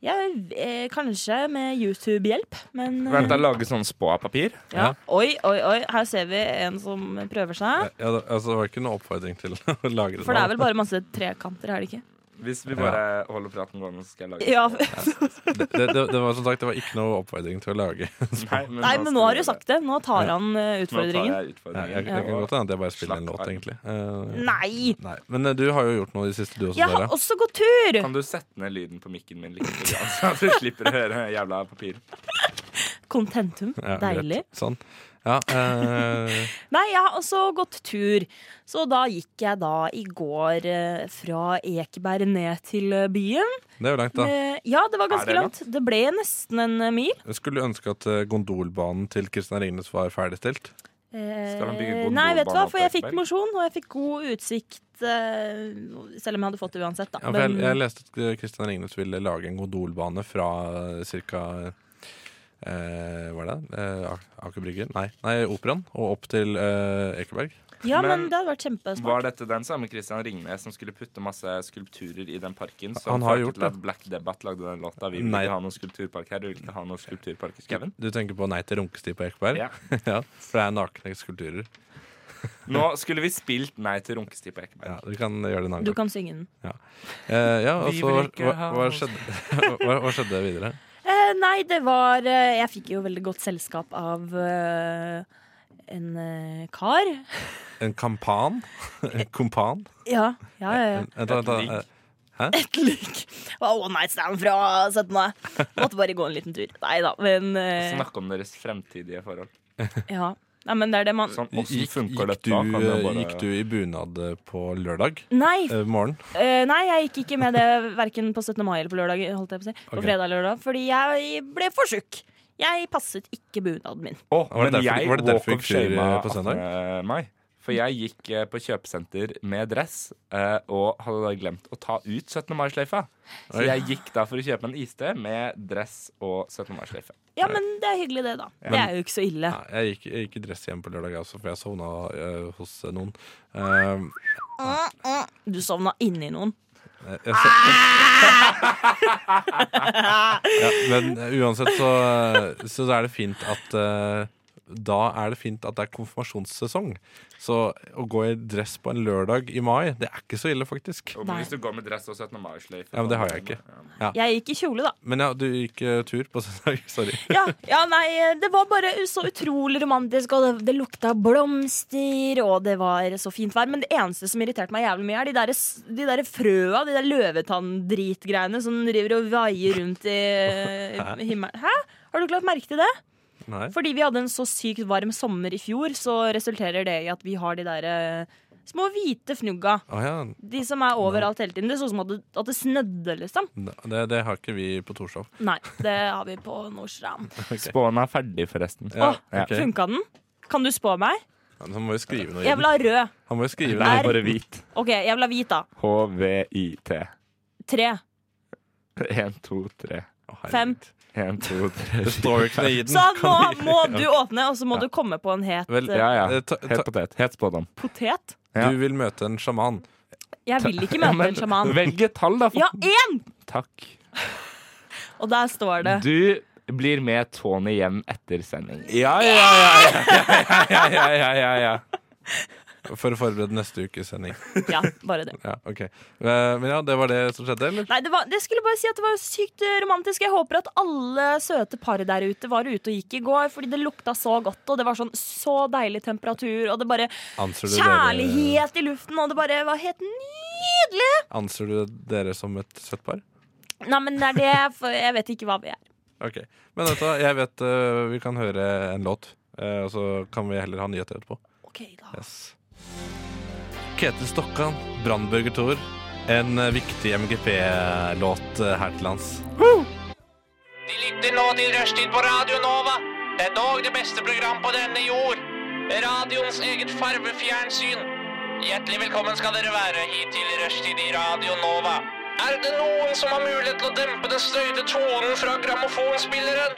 [SPEAKER 5] Ja, eh, kanskje med YouTube-hjelp, men eh,
[SPEAKER 1] Vent, jeg lager sånn spå av papir.
[SPEAKER 5] ja. Oi, oi, oi, her ser vi en som prøver seg.
[SPEAKER 3] Ja, det, altså, det var ikke noen oppfordring til [LAUGHS] å lagre det
[SPEAKER 5] For det
[SPEAKER 3] nå.
[SPEAKER 5] er vel bare masse trekanter, er det ikke?
[SPEAKER 1] Hvis vi
[SPEAKER 3] bare
[SPEAKER 1] holder praten gående, så skal jeg lage
[SPEAKER 5] Ja,
[SPEAKER 3] [LAUGHS] Det, det, det var som sagt, det var ikke noe oppfordring til å lage.
[SPEAKER 5] Nei, men nå har du sagt det. Nå tar han eh, utfordringen.
[SPEAKER 3] Nei, jeg, jeg kan godt hende at jeg bare spiller en
[SPEAKER 1] Slapp
[SPEAKER 3] låt,
[SPEAKER 1] av.
[SPEAKER 3] egentlig. Eh,
[SPEAKER 5] Nei!
[SPEAKER 3] nei. Men eh, du har jo gjort noe i det siste, du også,
[SPEAKER 5] Jeg har
[SPEAKER 3] Sara.
[SPEAKER 5] også gått tur!
[SPEAKER 1] Kan du sette ned lyden på mikken min litt, [LAUGHS] så du slipper å høre jævla papir?
[SPEAKER 5] Contentum.
[SPEAKER 3] Ja, greit.
[SPEAKER 5] Deilig.
[SPEAKER 3] Sånn. Ja, eh,
[SPEAKER 5] Nei, jeg har også gått tur. Så da gikk jeg da i går eh, fra Ekeberg ned til eh, byen.
[SPEAKER 3] det er jo langt, da.
[SPEAKER 5] [LAUGHS] Eh, Ja, det var ganske
[SPEAKER 1] det
[SPEAKER 5] langt. Det ble nesten en eh, mil.
[SPEAKER 3] Jeg skulle ønske at eh, gondolbanen til Kristian Ringnes var ferdigstilt.
[SPEAKER 1] Skal han bygge god
[SPEAKER 5] Nei, vet du hva,
[SPEAKER 1] golfbane
[SPEAKER 5] for jeg
[SPEAKER 1] opp
[SPEAKER 5] fikk
[SPEAKER 1] Østberg?
[SPEAKER 5] mosjon, og jeg fikk god utsikt. eh, Selv om jeg hadde fått det uansett, da.
[SPEAKER 3] Ja, for jeg,
[SPEAKER 5] Men-
[SPEAKER 3] jeg leste at eh, Christian Ringnes ville lage en gondolbane fra ca. Eh, hva er det? Eh, Ak- Aker Brygge? Nei, nei Operaen. Og opp til eh, Ekeberg.
[SPEAKER 5] ja, men,
[SPEAKER 1] men
[SPEAKER 5] det hadde vært kjempesmart.
[SPEAKER 1] Var dette den samme Christian Ringnes som skulle putte masse skulpturer i den parken? Som
[SPEAKER 3] Han har
[SPEAKER 1] førte
[SPEAKER 3] gjort
[SPEAKER 1] til
[SPEAKER 3] det.
[SPEAKER 1] at Black Debbath lagde den låta. Vi vil
[SPEAKER 3] Nei.
[SPEAKER 1] ikke ha noen skulpturpark her. Vi vil ikke ha noen skulpturpark i skauen.
[SPEAKER 3] Du tenker på Nei til runkesti på Ekeberg?
[SPEAKER 1] Ja.
[SPEAKER 3] [LAUGHS] Ja, for det er nakne skulpturer.
[SPEAKER 1] Nå skulle vi spilt Nei til runkesti på Ekeberg.
[SPEAKER 3] Ja, du kan gjøre det en annen
[SPEAKER 5] Du
[SPEAKER 3] gang.
[SPEAKER 5] kan synge den.
[SPEAKER 3] Eh, ja, og
[SPEAKER 1] Vi
[SPEAKER 3] så
[SPEAKER 1] vil
[SPEAKER 3] hva,
[SPEAKER 1] ikke ha
[SPEAKER 3] hva,
[SPEAKER 1] oss.
[SPEAKER 3] skjedde, [LAUGHS] hva, hva skjedde videre?
[SPEAKER 5] Eh, nei, det var eh, Jeg fikk jo veldig godt selskap av eh, en eh, kar.
[SPEAKER 3] En kampan? [LAUGHS] En kompan?
[SPEAKER 5] Ja, ja, ja. ja.
[SPEAKER 3] [LAUGHS] En- en- en- en-
[SPEAKER 1] ligg.
[SPEAKER 5] Et lik. Var One night stand fra 17. Måtte bare gå en liten tur. Nei da, men eh,
[SPEAKER 1] Snakke om deres fremtidige forhold.
[SPEAKER 5] Ja. Nei, men det er det man
[SPEAKER 1] Sånn, åssen
[SPEAKER 3] Gikk,
[SPEAKER 1] funker
[SPEAKER 3] gikk,
[SPEAKER 1] dette?
[SPEAKER 3] du,
[SPEAKER 1] Kan jeg bare-
[SPEAKER 3] gikk du i bunad eh, på lørdag
[SPEAKER 5] Nei,
[SPEAKER 3] eh, morgen?
[SPEAKER 5] Eh, nei, jeg gikk ikke med det verken på 17. mai eller på lørdag. Holdt jeg på å si. På
[SPEAKER 3] Ok.
[SPEAKER 5] fredag eller lørdag. Fordi jeg ble for tjukk. Jeg passet ikke bunaden min.
[SPEAKER 1] Å,
[SPEAKER 3] Var det
[SPEAKER 1] men
[SPEAKER 3] derfor-
[SPEAKER 1] jeg
[SPEAKER 3] var det derfor
[SPEAKER 1] walk
[SPEAKER 3] du
[SPEAKER 1] of
[SPEAKER 3] gikk tur,
[SPEAKER 1] shame
[SPEAKER 3] eh, på søndag?
[SPEAKER 1] 18. mai. For jeg gikk eh, på kjøpesenter med dress eh, og hadde da glemt å ta ut 17. mai-sløyfa. Så
[SPEAKER 3] Oi.
[SPEAKER 1] jeg gikk da for å kjøpe en iste med dress og 17. mai-sløyfe.
[SPEAKER 5] Ja, men det er hyggelig, det, da. Det er jo ikke så ille.
[SPEAKER 3] Nei, jeg gikk, jeg gikk i dress hjem på lørdag også, for jeg sovna eh, hos eh, noen. Eh,
[SPEAKER 5] Du sovna inni noen.
[SPEAKER 3] Jeg så... ja, men eh, uansett så, så er det fint at eh, Da er det fint at det er konfirmasjonssesong. Så å gå i dress på en lørdag i mai, det er ikke så ille, faktisk.
[SPEAKER 1] Og
[SPEAKER 5] Nei.
[SPEAKER 1] hvis du går med dress og 17. mai-sløyfe
[SPEAKER 3] Ja, men det har jeg ikke. [LAUGHS]
[SPEAKER 1] eh,
[SPEAKER 5] Jeg gikk i kjole, da.
[SPEAKER 3] Men ja, du gikk eh, tur på søndag. [LAUGHS] Sorry.
[SPEAKER 5] Ja, ja, nei, det var bare så utrolig romantisk, og det, det lukta blomster, og det var så fint vær. Men det eneste som irriterte meg jævlig mye, er de der, s- de der frøa, de der løvetanndritgreiene som driver og vaier rundt i, i himmelen. Hæ? Har du ikke lagt merke til det?
[SPEAKER 3] Nei.
[SPEAKER 5] Fordi vi hadde en så sykt varm sommer i fjor, så resulterer det i at vi har de der eh, små hvite fnugga.
[SPEAKER 3] Å ja.
[SPEAKER 5] De som er overalt hele tiden. Det så ut som at det, at det snødde, liksom.
[SPEAKER 3] Det, det har ikke vi på Torshov.
[SPEAKER 5] Nei, det har vi på Nordstrand.
[SPEAKER 1] Spåen er ferdig, forresten.
[SPEAKER 3] Ja,
[SPEAKER 5] Åh,
[SPEAKER 1] ja.
[SPEAKER 3] ok.
[SPEAKER 5] Funka den? Kan du spå meg?
[SPEAKER 3] Ja, Han må jo skrive noe i
[SPEAKER 5] Jeg
[SPEAKER 3] den.
[SPEAKER 5] vil ha rød.
[SPEAKER 3] Han må jo skrive
[SPEAKER 5] Nei.
[SPEAKER 3] noe.
[SPEAKER 1] Nei,
[SPEAKER 5] [LAUGHS]
[SPEAKER 1] bare hvit.
[SPEAKER 5] Ok, jeg vil ha hvit, da.
[SPEAKER 1] H-V-I-T. [LAUGHS]
[SPEAKER 5] Tre.
[SPEAKER 1] 1, 2, 3.
[SPEAKER 3] Å, herregud.
[SPEAKER 5] Fem.
[SPEAKER 1] 1, 2, 3.
[SPEAKER 3] Det står jo ikke noe i den.
[SPEAKER 5] Så nå må du åpne, og så må du komme på en het
[SPEAKER 3] Vel,
[SPEAKER 5] eh,
[SPEAKER 1] Ja, ja.
[SPEAKER 3] Eh, ta- ta-
[SPEAKER 1] Het potet. Het spådom.
[SPEAKER 5] potet.
[SPEAKER 1] Ja.
[SPEAKER 3] Du vil møte en sjaman.
[SPEAKER 5] Jeg vil ikke
[SPEAKER 1] Ja,
[SPEAKER 5] møte
[SPEAKER 1] men
[SPEAKER 5] en sjaman.
[SPEAKER 1] Velg et tall, da. For...
[SPEAKER 5] Ja, én!
[SPEAKER 1] Takk.
[SPEAKER 5] Og der står det.
[SPEAKER 1] Du blir med Tony hjem etter sending. Ja, ja, ja. ja, ja, ja, ja, ja, ja, ja.
[SPEAKER 3] For å forberede neste ukes sending.
[SPEAKER 5] Ja, bare det.
[SPEAKER 3] Ja, ok. Eh, Men ja, det var det som skjedde, eller?
[SPEAKER 5] Nei, det, var, det skulle bare si at det var sykt eh, romantisk. Jeg håper at alle søte par der ute var ute og gikk i går, fordi det lukta så godt, og det var sånn så deilig temperatur, og det bare
[SPEAKER 3] Anser du, dere,
[SPEAKER 5] Kjærlighet i luften, og det bare var helt nydelig!
[SPEAKER 3] anser du dere som et søtt par?
[SPEAKER 5] Nei, men det er det, for jeg vet ikke hva vi er.
[SPEAKER 3] Ok. Men vet du, hva, jeg vet eh, vi kan høre en låt, eh, og så kan vi heller ha nyheter etterpå.
[SPEAKER 5] Ok, da.
[SPEAKER 3] Yes. Ketil Stokkan, Brannbøger Tor. En eh, viktig MGP-låt eh, her til lands.
[SPEAKER 6] De lytter nå til Rushtid på Radio Nova. Det er dog det beste program på denne jord. Radioens eget farvefjernsyn. Hjertelig velkommen skal dere være hit til Rushtid i Radio Nova. Er det noen som har mulighet til å dempe den støyte tonen fra grammofonspilleren?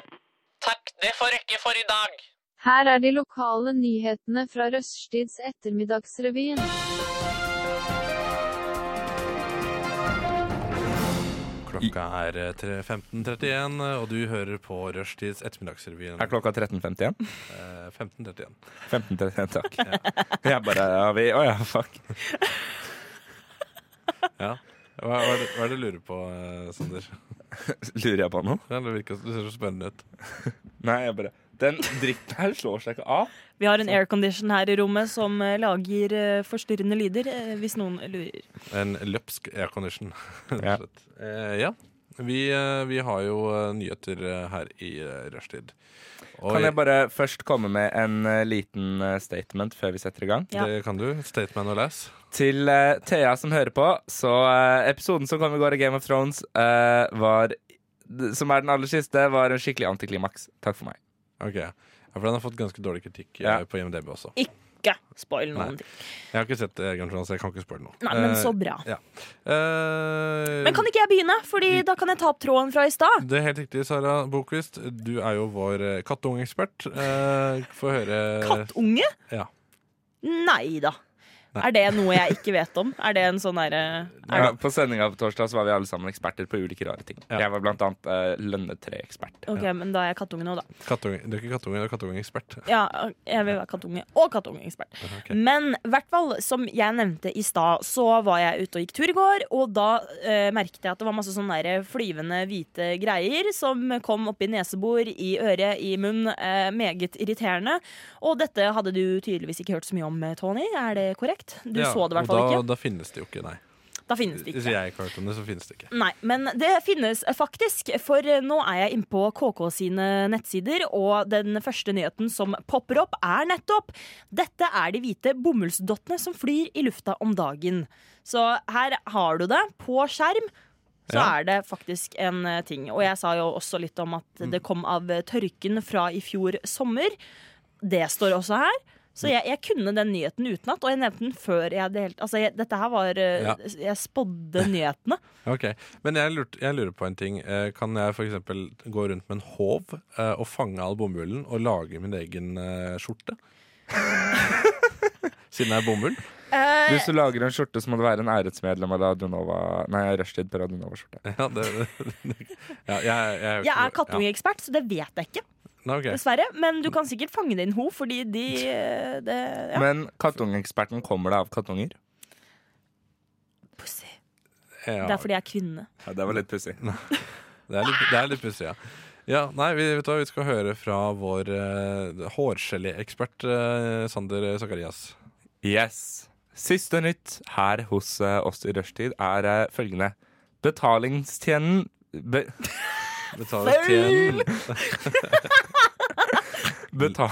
[SPEAKER 6] Takk, det får rekke for i dag.
[SPEAKER 7] Her er de lokale nyhetene fra Røststids ettermiddagsrevyen.
[SPEAKER 3] Klokka er eh, tre- 15.31, eh, og du hører på Rushtids ettermiddagsrevyen.
[SPEAKER 1] Er klokka 13.51?
[SPEAKER 3] Eh, 15.31.
[SPEAKER 1] 15.31, takk. Jeg bare ja, vi, Å ja, fuck.
[SPEAKER 3] Ja. Hva, hva, er det, hva er det du lurer på, eh, Sander?
[SPEAKER 1] Lurer jeg på noe?
[SPEAKER 3] Ja, det virker, du ser så spennende ut.
[SPEAKER 1] Nei, jeg bare Den dritten her slår seg ikke av.
[SPEAKER 5] Vi har
[SPEAKER 3] Sånn.
[SPEAKER 5] en aircondition her i rommet som eh, lager eh, forstyrrende lyder, eh, hvis noen lurer.
[SPEAKER 3] En løpsk aircondition. [LAUGHS]
[SPEAKER 1] Ja.
[SPEAKER 3] Ja. Eh, ja. Vi, eh, vi har jo eh, nyheter eh, her i eh, rushtid. Og
[SPEAKER 1] Kan jeg bare først komme med en eh, liten eh, statement før vi setter i gang?
[SPEAKER 5] Ja.
[SPEAKER 3] Det kan du. Statement og less.
[SPEAKER 1] Til eh, Thea som hører på, så eh, episoden som kom i går av Game of Thrones, eh, var Som er den aller siste, var en skikkelig antiklimaks. Takk for meg.
[SPEAKER 3] Ok. Ja, for den har fått ganske dårlig kritikk
[SPEAKER 1] Ja.
[SPEAKER 3] eh, på IMDb også.
[SPEAKER 5] Ikke spoil noen
[SPEAKER 3] Nei.
[SPEAKER 5] ting.
[SPEAKER 3] Jeg har ikke sett det, Egan Jonas, så jeg kan ikke spørre noe.
[SPEAKER 5] Nei, men
[SPEAKER 3] Eh,
[SPEAKER 5] så bra.
[SPEAKER 3] ja. Eh,
[SPEAKER 5] Men kan ikke jeg begynne? Fordi da kan jeg ta opp tråden fra i stad.
[SPEAKER 3] Det er helt riktig, Sara Bokvist. Du er jo vår eh, katteungekspert. Eh, Få høre
[SPEAKER 5] Kattunge?
[SPEAKER 3] Ja.
[SPEAKER 5] Nei da. Er det noe jeg ikke vet om? Er det en sånn derre
[SPEAKER 1] Ja, på sendinga på torsdag så var vi alle sammen eksperter på ulike rare ting. Jeg var blant annet eh, lønnetreekspert.
[SPEAKER 5] OK, men da er jeg kattunge nå, da.
[SPEAKER 3] Kattunge. Du er ikke kattunge, du er kattungekspert.
[SPEAKER 5] Ja, jeg vil være kattunge og kattungeekspert.
[SPEAKER 3] ok.
[SPEAKER 5] Men i hvert fall, som jeg nevnte i stad, så var jeg ute og gikk tur i går. Og da eh, merket jeg at det var masse sånne der flyvende hvite greier som kom oppi nesebor, i øret, i munn. Eh, meget irriterende. Og dette hadde du tydeligvis ikke hørt så mye om, Tony. Er det korrekt? Du
[SPEAKER 3] Ja,
[SPEAKER 5] så det i hvert
[SPEAKER 3] og
[SPEAKER 5] fall
[SPEAKER 3] da,
[SPEAKER 5] ikke.
[SPEAKER 3] Da finnes det jo ikke, nei.
[SPEAKER 5] Da finnes det ikke.
[SPEAKER 3] Hvis jeg ikke har hørt om det, så finnes det ikke.
[SPEAKER 5] Nei, men det finnes eh, faktisk, for eh, nå er jeg inne på KK sine nettsider, og den første nyheten som popper opp er nettopp Dette er de hvite bomullsdottene som flyr i lufta om dagen. Så her har du det på skjerm. Så
[SPEAKER 3] Ja.
[SPEAKER 5] er det faktisk en eh, ting. Og jeg sa jo også litt om at
[SPEAKER 3] Mm.
[SPEAKER 5] det kom av eh, tørken fra i fjor sommer. Det står også her.
[SPEAKER 3] Mm.
[SPEAKER 5] Så jeg, jeg kunne den nyheten utenat, og jeg nevnte den før jeg delte Altså, jeg, dette her var eh,
[SPEAKER 3] Ja.
[SPEAKER 5] Jeg spådde nyhetene.
[SPEAKER 3] Ok, Men jeg, lurte- jeg lurer på en ting. Eh, Kan jeg f.eks. gå rundt med en håv eh, og fange all bomullen og lage min egen eh, skjorte? [LAUGHS] Siden det er bomull? [LAUGHS]
[SPEAKER 5] Eh,
[SPEAKER 1] Hvis du lager en skjorte, så må du være en æresmedlem av Radionova Nei, Rushtid på Radionova-skjorte.
[SPEAKER 3] Ja, det, ja, jeg, jeg,
[SPEAKER 5] Jeg er
[SPEAKER 3] Ja.
[SPEAKER 5] kattungeekspert, så det vet jeg ikke,
[SPEAKER 3] Nei, ok.
[SPEAKER 5] dessverre. Men du kan sikkert fange din ho, fordi de eh, det, ja.
[SPEAKER 1] Men kattungeeksperten kommer det av kattunger?
[SPEAKER 5] Pussy.
[SPEAKER 3] Ja,
[SPEAKER 5] Det er fordi jeg er kvinne.
[SPEAKER 1] Ja, det var litt pussig.
[SPEAKER 3] Det er litt, det er litt pussig, ja. Ja, nei, vi, vet du hva, vi skal høre fra vår uh, hårgeléekspert eh, Sander Sakarias.
[SPEAKER 1] Yes. Siste nytt her hos eh, oss i rushtid er eh, følgende. Betalingstjenesten be,
[SPEAKER 3] Betaler tjenen.
[SPEAKER 1] beta,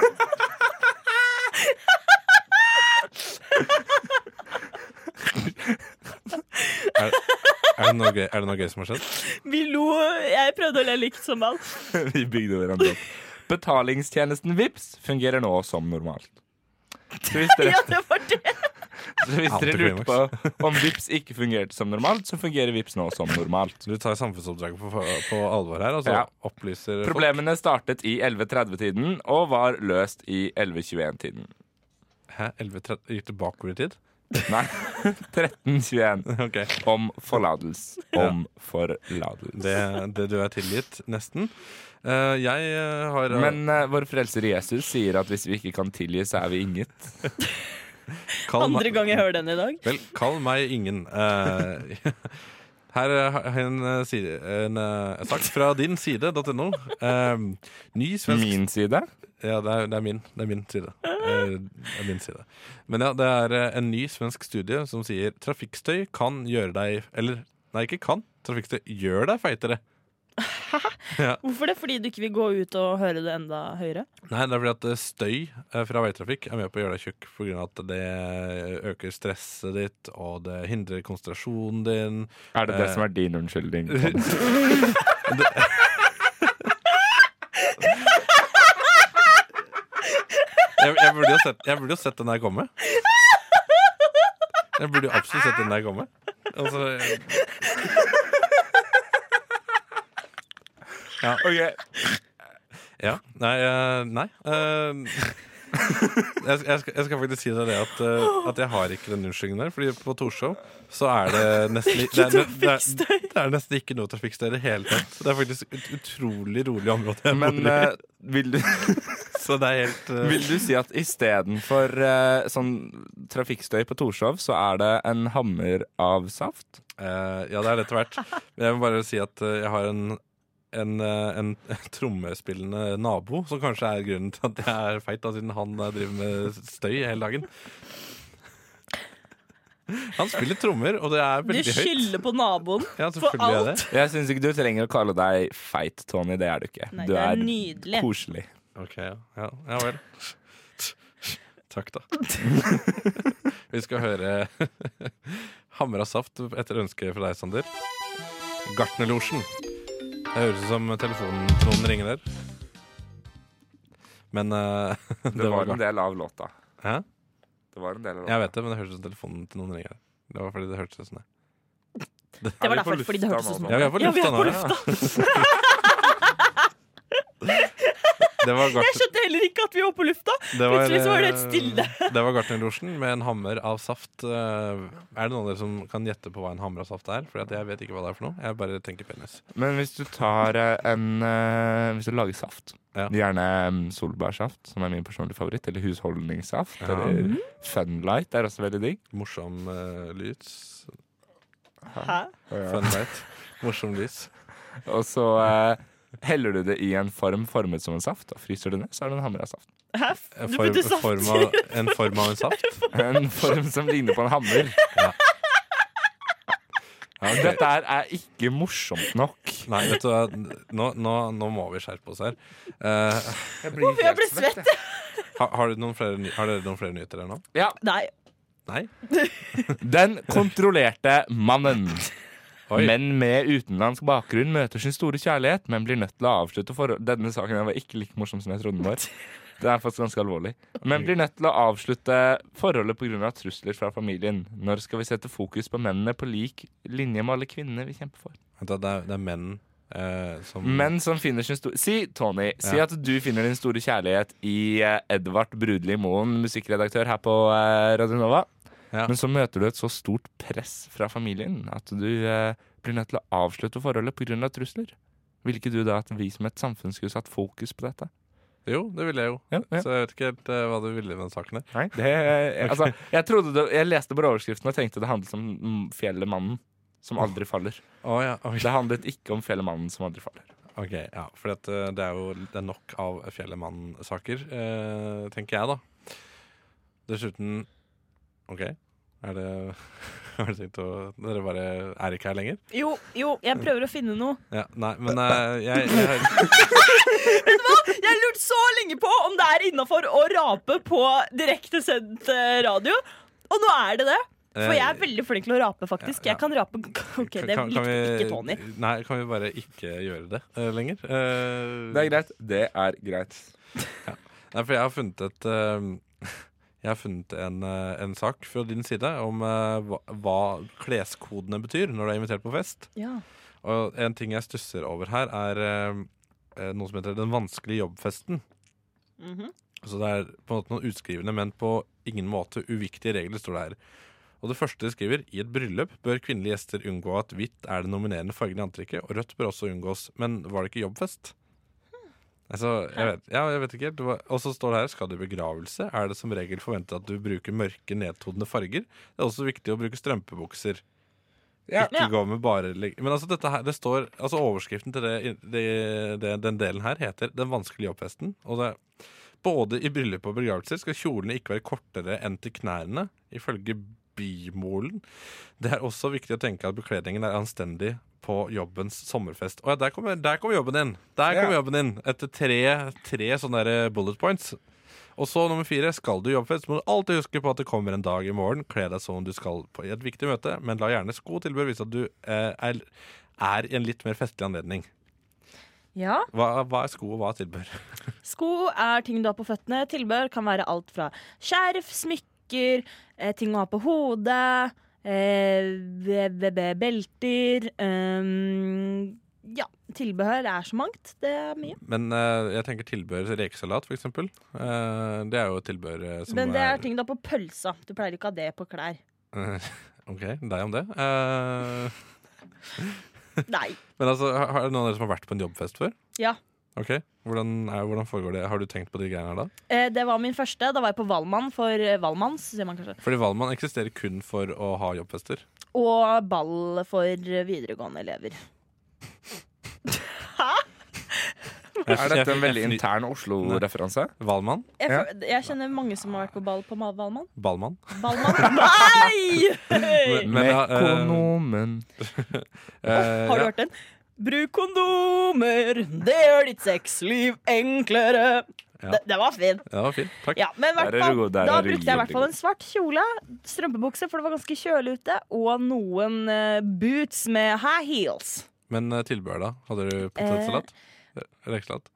[SPEAKER 1] [LAUGHS]
[SPEAKER 3] Er, er, det noe gøy, er det noe gøy som har skjedd?
[SPEAKER 5] Vi lo Jeg prøvde å le likt som alt. [LAUGHS]
[SPEAKER 1] Vi bygde hverandre opp. Betalingstjenesten Vips fungerer nå som normalt. Så hvis dere,
[SPEAKER 5] Ja, det var det.
[SPEAKER 1] så hvis dere lurte
[SPEAKER 3] Antiklimaks.
[SPEAKER 1] på om Vips ikke fungerte som normalt, så fungerer Vips nå som normalt.
[SPEAKER 3] Du tar samfunnsoppdraget på, på alvor her, altså
[SPEAKER 1] Ja.
[SPEAKER 3] opplyser folk.
[SPEAKER 1] Problemene startet i 11.30-tiden og var løst i 11.21-tiden.
[SPEAKER 3] Hæ, 11.30? Gikk det bakover i tid?
[SPEAKER 1] Nei, [LAUGHS] 13.21.
[SPEAKER 3] [LAUGHS] Ok.
[SPEAKER 1] Om forlatelse. Om forlatelse.
[SPEAKER 3] Det, det du er tilgitt, nesten. Eh, jeg eh, har
[SPEAKER 1] Men eh, vår frelser Jesus sier at hvis vi ikke kan tilgi, så er vi inget.
[SPEAKER 3] kall meg-
[SPEAKER 5] Andre gang jeg hører den i dag.
[SPEAKER 3] Vel, kall meg ingen. Eh, [LAUGHS] her er en, eh, side, en eh, sak fra din side.no. Eh, ny svensk
[SPEAKER 1] Min side.
[SPEAKER 3] Ja, det er, det er min. Det er min side. Eh, Det er min side. Men ja, det er eh, en ny svensk studie som sier trafikkstøy kan gjøre deg Eller, nei, ikke kan. Trafikkstøy gjør deg feitere.
[SPEAKER 5] Hvorfor det? Fordi du ikke vil gå ut og høre det enda høyere?
[SPEAKER 3] Nei, det er fordi at eh, støy eh, fra veitrafikk er med på å gjøre deg tjukk pga. at det eh, øker stresset ditt, og det hindrer konsentrasjonen din.
[SPEAKER 1] Er det det
[SPEAKER 3] Eh.
[SPEAKER 1] som er din unnskyldning?
[SPEAKER 3] Jeg, jeg, burde, jo sett, jeg burde jo sett den der komme. Jeg burde jo absolutt sett den der komme. Altså,
[SPEAKER 1] Ok,
[SPEAKER 3] ja. Nei. eh, nei. eh, jeg, skal- jeg, skal, jeg skal faktisk si deg det at, eh, at jeg har ikke den unnskyldningen der. Fordi på Torshov så er det nesten det er, det, er, det er nesten ikke noe trafikkstøy i det hele tatt. Det er faktisk et utrolig rolig område. jeg
[SPEAKER 1] Men
[SPEAKER 3] bor i.
[SPEAKER 1] eh, vil, du, [LAUGHS]
[SPEAKER 3] så det er helt eh,
[SPEAKER 1] vil du si at istedenfor uh, sånn trafikkstøy på Torshov, så er det en hammer av saft?
[SPEAKER 3] Eh, ja, det er det etter hvert. Men jeg vil bare si at eh, jeg har en, en, eh, en [LAUGHS] trommespillende nabo, som kanskje er grunnen til at jeg er feit, da, siden han eh, driver med støy hele dagen. Han spiller trommer, og det er
[SPEAKER 5] Du
[SPEAKER 3] veldig høyt.
[SPEAKER 5] skylder på naboen.
[SPEAKER 3] Ja, selvfølgelig er det.
[SPEAKER 1] Jeg syns ikke du trenger å kalle deg feit, Tony. Det er du ikke.
[SPEAKER 5] Nei,
[SPEAKER 1] du
[SPEAKER 5] det er
[SPEAKER 1] er
[SPEAKER 5] nydelig.
[SPEAKER 1] koselig.
[SPEAKER 3] Ok, ja. ja. Ja vel. [LAUGHS] Takk, da. Vi skal høre [LAUGHS] Hamra saft etter ønske fra deg, Sander. Gartnerlosjen. Det høres ut som telefonen noen ringer der. Men eh, [LAUGHS] det,
[SPEAKER 1] Det var
[SPEAKER 3] var
[SPEAKER 1] en del av låta.
[SPEAKER 3] Hæ?
[SPEAKER 1] Det var en del av låta.
[SPEAKER 3] Jeg vet det, men det hørtes ut som telefonen til noen ringer. Det var fordi det hørtes ut som det.
[SPEAKER 5] Det
[SPEAKER 1] Er vi
[SPEAKER 5] var
[SPEAKER 1] på
[SPEAKER 5] derfor, fordi det
[SPEAKER 1] lufta nå,
[SPEAKER 5] hørtes ut som
[SPEAKER 1] sånn?
[SPEAKER 3] Ja, vi er på
[SPEAKER 5] Ja, vi
[SPEAKER 3] lufta nå.
[SPEAKER 5] er på
[SPEAKER 3] ja. [LAUGHS] Det var
[SPEAKER 5] Jeg
[SPEAKER 3] Gartner-
[SPEAKER 5] skjønte heller ikke at vi var på lufta!
[SPEAKER 3] det var,
[SPEAKER 5] Plutselig så var det helt
[SPEAKER 3] eh,
[SPEAKER 5] stille.
[SPEAKER 3] [LAUGHS] Det var Gartnerlosjen med en hammer av saft. Eh, Er det noen av dere som kan gjette på hva en hammer av saft er? For jeg vet ikke hva det er for noe. Jeg bare tenker penis.
[SPEAKER 1] Men hvis du tar eh, en eh, Hvis du lager saft,
[SPEAKER 3] Ja.
[SPEAKER 1] gjerne mm, solbærsaft, som er min personlige favoritt, eller husholdningssaft,
[SPEAKER 3] Ja.
[SPEAKER 5] Mm.
[SPEAKER 1] eller Funlight er også veldig digg.
[SPEAKER 3] Morsom eh, lys.
[SPEAKER 5] Hæ?
[SPEAKER 3] Fun light. Morsom lys.
[SPEAKER 1] Og så eh, heller du det i en form formet som en saft, og fryser det ned, så er det en hammer av saft.
[SPEAKER 5] Hæ?
[SPEAKER 3] En
[SPEAKER 5] Du
[SPEAKER 3] form,
[SPEAKER 5] putter saft
[SPEAKER 3] form
[SPEAKER 5] i
[SPEAKER 3] av, en form av en saft?
[SPEAKER 1] En form som ligner på en hammer.
[SPEAKER 3] Ja, ok.
[SPEAKER 1] Dette her er ikke morsomt nok.
[SPEAKER 3] Nei, vet du hva. Nå, nå, nå må vi skjerpe oss her. Eh,
[SPEAKER 1] Jeg blir
[SPEAKER 5] Jeg ble svett! jeg.
[SPEAKER 3] har, har, du noen flere, ny- har dere noen flere nyheter her nå?
[SPEAKER 5] [LAUGHS] Nei.
[SPEAKER 3] Nei?
[SPEAKER 1] Den kontrollerte mannen.
[SPEAKER 3] Oi.
[SPEAKER 1] Menn med utenlandsk bakgrunn møter sin store kjærlighet, men blir nødt til å avslutte forhold Denne saken her var ikke like morsom som jeg trodde den var. Den er faktisk ganske alvorlig. Men blir nødt til å avslutte forholdet pga. trusler fra familien. Når skal vi sette fokus på mennene på lik linje med alle kvinnene vi kjemper for?
[SPEAKER 3] Vent da, Det er, det er menn eh, som
[SPEAKER 1] Menn som finner sin store Si, Tony, si
[SPEAKER 3] Ja.
[SPEAKER 1] at du finner din store kjærlighet i eh, Edvard Brudli Moen, musikkredaktør her på eh, Radio Nova.
[SPEAKER 3] Ja.
[SPEAKER 1] Men så møter du et så stort press fra familien at du eh, blir nødt til å avslutte forholdet pga. Av trusler. Ville ikke du da at vi som et samfunn skulle satt fokus på dette?
[SPEAKER 3] Jo, det ville jeg jo.
[SPEAKER 1] Ja, ja.
[SPEAKER 3] Så jeg vet ikke helt eh, hva du ville med den saken der.
[SPEAKER 1] Nei, det, eh, altså, jeg, trodde det, jeg leste bare overskriften og tenkte det handlet om mm, fjellet mannen som aldri faller.
[SPEAKER 3] Å, ja, ok.
[SPEAKER 1] Det handlet ikke om fjellet mannen som aldri faller.
[SPEAKER 3] Ok, ja, for at, eh, det er jo det er nok av Fjellemann-saker, eh, tenker jeg da. Dessuten, ok, er det, [LAUGHS] har du tenkt å, dere bare er ikke her lenger?
[SPEAKER 5] Jo, jo, jeg prøver å finne noe.
[SPEAKER 3] Ja, nei, men eh, jeg, jeg,
[SPEAKER 5] Jeg har lurt så lenge på om det er innafor å rape på direktesendt eh, radio. Og nå er det det. [LAUGHS] For jeg er veldig flink til å rape, faktisk.
[SPEAKER 3] Eh, Ja, ja.
[SPEAKER 5] Jeg kan rape [LAUGHS] OK, det
[SPEAKER 3] eh, kan- kan
[SPEAKER 5] likte
[SPEAKER 3] vi-
[SPEAKER 5] ikke Tony.
[SPEAKER 3] Nei, kan vi bare ikke gjøre det eh, lenger? Eh,
[SPEAKER 1] Det er greit. Det er greit.
[SPEAKER 3] Nei, for jeg har funnet et eh, [LAUGHS] Jeg har funnet en, eh, en sak fra din side om eh, hva, hva kleskodene betyr når du er invitert på fest.
[SPEAKER 5] Ja.
[SPEAKER 3] Og en ting jeg stusser over her, er eh, noe som heter den vanskelige jobbfesten.
[SPEAKER 5] Mhm.
[SPEAKER 3] Så det er på en måte noen utskrivende, men på ingen måte uviktige regler, står det her. Og det første de skriver, i et bryllup bør kvinnelige gjester unngå at hvitt er den nominerende fargen i antrekket, og rødt bør også unngås. Men var det ikke jobbfest? Altså, jeg vet, ja, jeg vet ikke helt. Det var- Og så står det her, skal du i begravelse, er det som regel forventet at du bruker mørke, nedtonede farger. Det er også viktig å bruke strømpebukser.
[SPEAKER 1] Ja.
[SPEAKER 3] Ikke gå med bare leg- Men altså, dette her, det står Altså, overskriften til det, det, det, den delen her heter 'Den vanskelige jobbfesten'. Og det er både i bryllup og begravelser skal kjolene ikke være kortere enn til knærne, ifølge Bymolen. Det er også viktig å tenke at bekledningen er anstendig på jobbens sommerfest. Og ja, der kommer, der kommer jobben din! Der kommer jobben din Etter tre, tre sånne der bullet points. Og så nummer fire, skal du i jobbfest, må du alltid huske på at det kommer en dag i morgen. Kle deg som om du skal på et viktig møte, men la gjerne sko tilbør vise at du eh, er, er i en litt mer festlig anledning.
[SPEAKER 5] ja.
[SPEAKER 3] Hva, hva er sko, og hva er tilbør?
[SPEAKER 5] Sko er ting du har på føttene. Tilbør kan være alt fra skjerf, smykker, eh, ting å ha på hodet, eh, be- be- be- belter ehm, Ja, tilbehør er så mangt. Det er mye.
[SPEAKER 3] [LAUGHS] Men eh, jeg tenker tilbør rekesalat, for eksempel. Eh, det er jo et tilbør eh, som
[SPEAKER 5] Men det er ting du har på pølsa. Du pleier ikke å ha det på
[SPEAKER 3] [LAUGHS]
[SPEAKER 5] klær.
[SPEAKER 3] OK, deg om det. Eh,
[SPEAKER 5] Nei.
[SPEAKER 3] men altså, har har noen av dere som har vært på en jobbfest før?
[SPEAKER 5] Ja.
[SPEAKER 3] Ok, hvordan, er, hvordan foregår det? Har du tenkt på de greiene her da?
[SPEAKER 5] Eh, Det var min første. Da var jeg på Valmann for eh, Valmanns, sier man kanskje.
[SPEAKER 3] Fordi Valmann eksisterer kun for å ha jobbfester.
[SPEAKER 5] Og ball for eh, videregående elever.
[SPEAKER 1] Er dette en veldig
[SPEAKER 3] Jeg- jeg-
[SPEAKER 1] intern Oslo-referanse?
[SPEAKER 3] Valmann?
[SPEAKER 5] Jeg,
[SPEAKER 1] Ja.
[SPEAKER 5] fø- jeg kjenner mange som har vært på ball på Ma- Valmann.
[SPEAKER 3] Ballmann?
[SPEAKER 1] [LAUGHS]
[SPEAKER 5] Ballmann? Nei!
[SPEAKER 3] Men, ja, eh,
[SPEAKER 1] Mekonomen.
[SPEAKER 3] Eh,
[SPEAKER 5] Har du
[SPEAKER 3] ja.
[SPEAKER 5] hørt den? Bruk kondomer, det gjør ditt sexliv enklere.
[SPEAKER 3] Ja.
[SPEAKER 5] Det, det var fin.
[SPEAKER 3] Ja, det var fint. Takk.
[SPEAKER 5] Ja, men i hvert
[SPEAKER 1] Der er du
[SPEAKER 5] fall,
[SPEAKER 1] god, der
[SPEAKER 5] da
[SPEAKER 1] er du
[SPEAKER 5] brukte jeg i hvert
[SPEAKER 1] kjempegod.
[SPEAKER 5] fall en svart kjole, strømpebukse, for det var ganske kjølig ute, og noen eh, boots med high heels.
[SPEAKER 3] Men eh, tilbehør, da? Hadde du potetsalat? Eh. Rekesalat?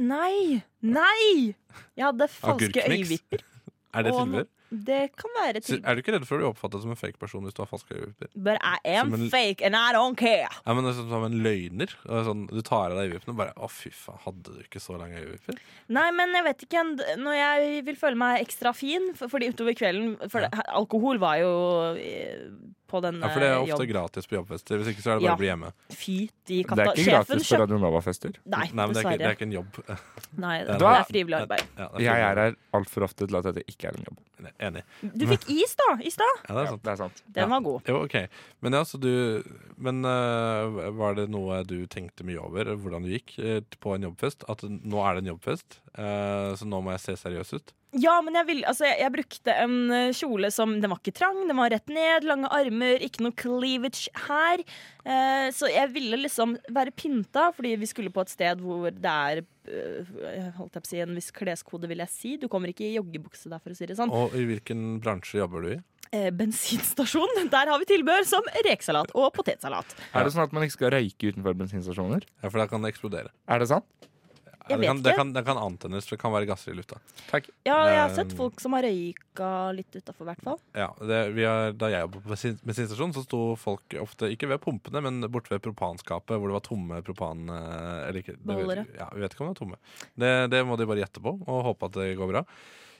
[SPEAKER 5] Nei! Nei! Jeg hadde falske
[SPEAKER 3] Agurkkniks?
[SPEAKER 5] øyevipper.
[SPEAKER 3] [LAUGHS] Er det
[SPEAKER 5] Og
[SPEAKER 3] tilbud?
[SPEAKER 5] Det kan være
[SPEAKER 3] Så
[SPEAKER 5] til.
[SPEAKER 3] Er du ikke redd for å bli oppfattet som en fake person hvis du har falske øyevipper?
[SPEAKER 5] But I am
[SPEAKER 3] Som en-
[SPEAKER 5] fake and I don't care.
[SPEAKER 3] Nei, men det er sånn Som en løgner. Og det er Sånn, du tar av deg øyevippene og bare Å, fy faen, hadde du ikke så lange øyevipper?
[SPEAKER 5] Nei, men jeg vet ikke en- Når jeg vil føle meg ekstra fin for, Fordi utover kvelden For det, alkohol var jo eh, på den
[SPEAKER 3] Ja, for det er
[SPEAKER 5] eh,
[SPEAKER 3] ofte
[SPEAKER 5] jobb.
[SPEAKER 3] gratis på jobbfester. Hvis ikke så er det bare
[SPEAKER 5] Ja.
[SPEAKER 3] å bli hjemme.
[SPEAKER 5] Fy de
[SPEAKER 1] Det
[SPEAKER 5] katta.
[SPEAKER 1] er ikke
[SPEAKER 5] Sjefen
[SPEAKER 1] gratis for
[SPEAKER 5] kjøpte
[SPEAKER 1] Radio Nova-fester.
[SPEAKER 5] Nei,
[SPEAKER 3] Nei, men det er, ikke, det
[SPEAKER 5] dessverre.
[SPEAKER 3] er ikke en jobb.
[SPEAKER 5] Nei,
[SPEAKER 3] Det er
[SPEAKER 5] det er
[SPEAKER 1] noe-
[SPEAKER 5] frivillig arbeid.
[SPEAKER 3] Ja, det
[SPEAKER 1] Jeg er
[SPEAKER 3] fint.
[SPEAKER 1] her altfor ofte til at dette ikke er en jobb.
[SPEAKER 3] Enig.
[SPEAKER 5] Du fikk is da, i stad.
[SPEAKER 3] Ja, det er sånn.
[SPEAKER 1] Ja,
[SPEAKER 3] sant.
[SPEAKER 1] det er sant.
[SPEAKER 5] Den var god.
[SPEAKER 3] Jo, ok. Men, ja, så du, men øh, var det noe du tenkte mye over, hvordan du gikk øh, på en jobbfest? At nå er det en jobbfest, øh, så nå må jeg se seriøs
[SPEAKER 5] [LAUGHS]
[SPEAKER 3] ut?
[SPEAKER 5] Ja, men jeg, vil, altså, jeg, jeg brukte en eh, kjole som Den var ikke trang, den var rett ned, lange armer, ikke noe cleavage her. Eh, så jeg ville liksom være pynta, fordi vi skulle på et sted hvor det er eh, Holdt jeg på å si en viss kleskode, vil jeg si. Du kommer ikke i joggebukse der, for å si det sånn.
[SPEAKER 3] Og i hvilken bransje jobber du i?
[SPEAKER 5] Eh, bensinstasjon, [LAUGHS] der har vi tilbehør som rekesalat og potetsalat.
[SPEAKER 1] Er det sånn at man ikke skal røyke utenfor bensinstasjoner?
[SPEAKER 3] Ja, for da kan det eksplodere.
[SPEAKER 1] Er det sant?
[SPEAKER 3] Ja, det,
[SPEAKER 5] Jeg vet
[SPEAKER 3] kan, det,
[SPEAKER 5] ikke.
[SPEAKER 3] kan, det kan antennes, for det kan være gasser i lufta.
[SPEAKER 1] Takk.
[SPEAKER 5] Ja, jeg har sett
[SPEAKER 3] Eh,
[SPEAKER 5] folk som har røyka litt utafor, i hvert fall.
[SPEAKER 3] Ja, det, vi har, da jeg jobbet på bensin- bensinstasjon, så sto folk ofte ikke ved pumpene, men borte ved propanskapet, hvor det var tomme propan... eh, Eller ikke, det,
[SPEAKER 5] Beholdere.
[SPEAKER 3] Ja, vi vet ikke om det var tomme. Det, det må de bare gjette på, og håpe at det går bra.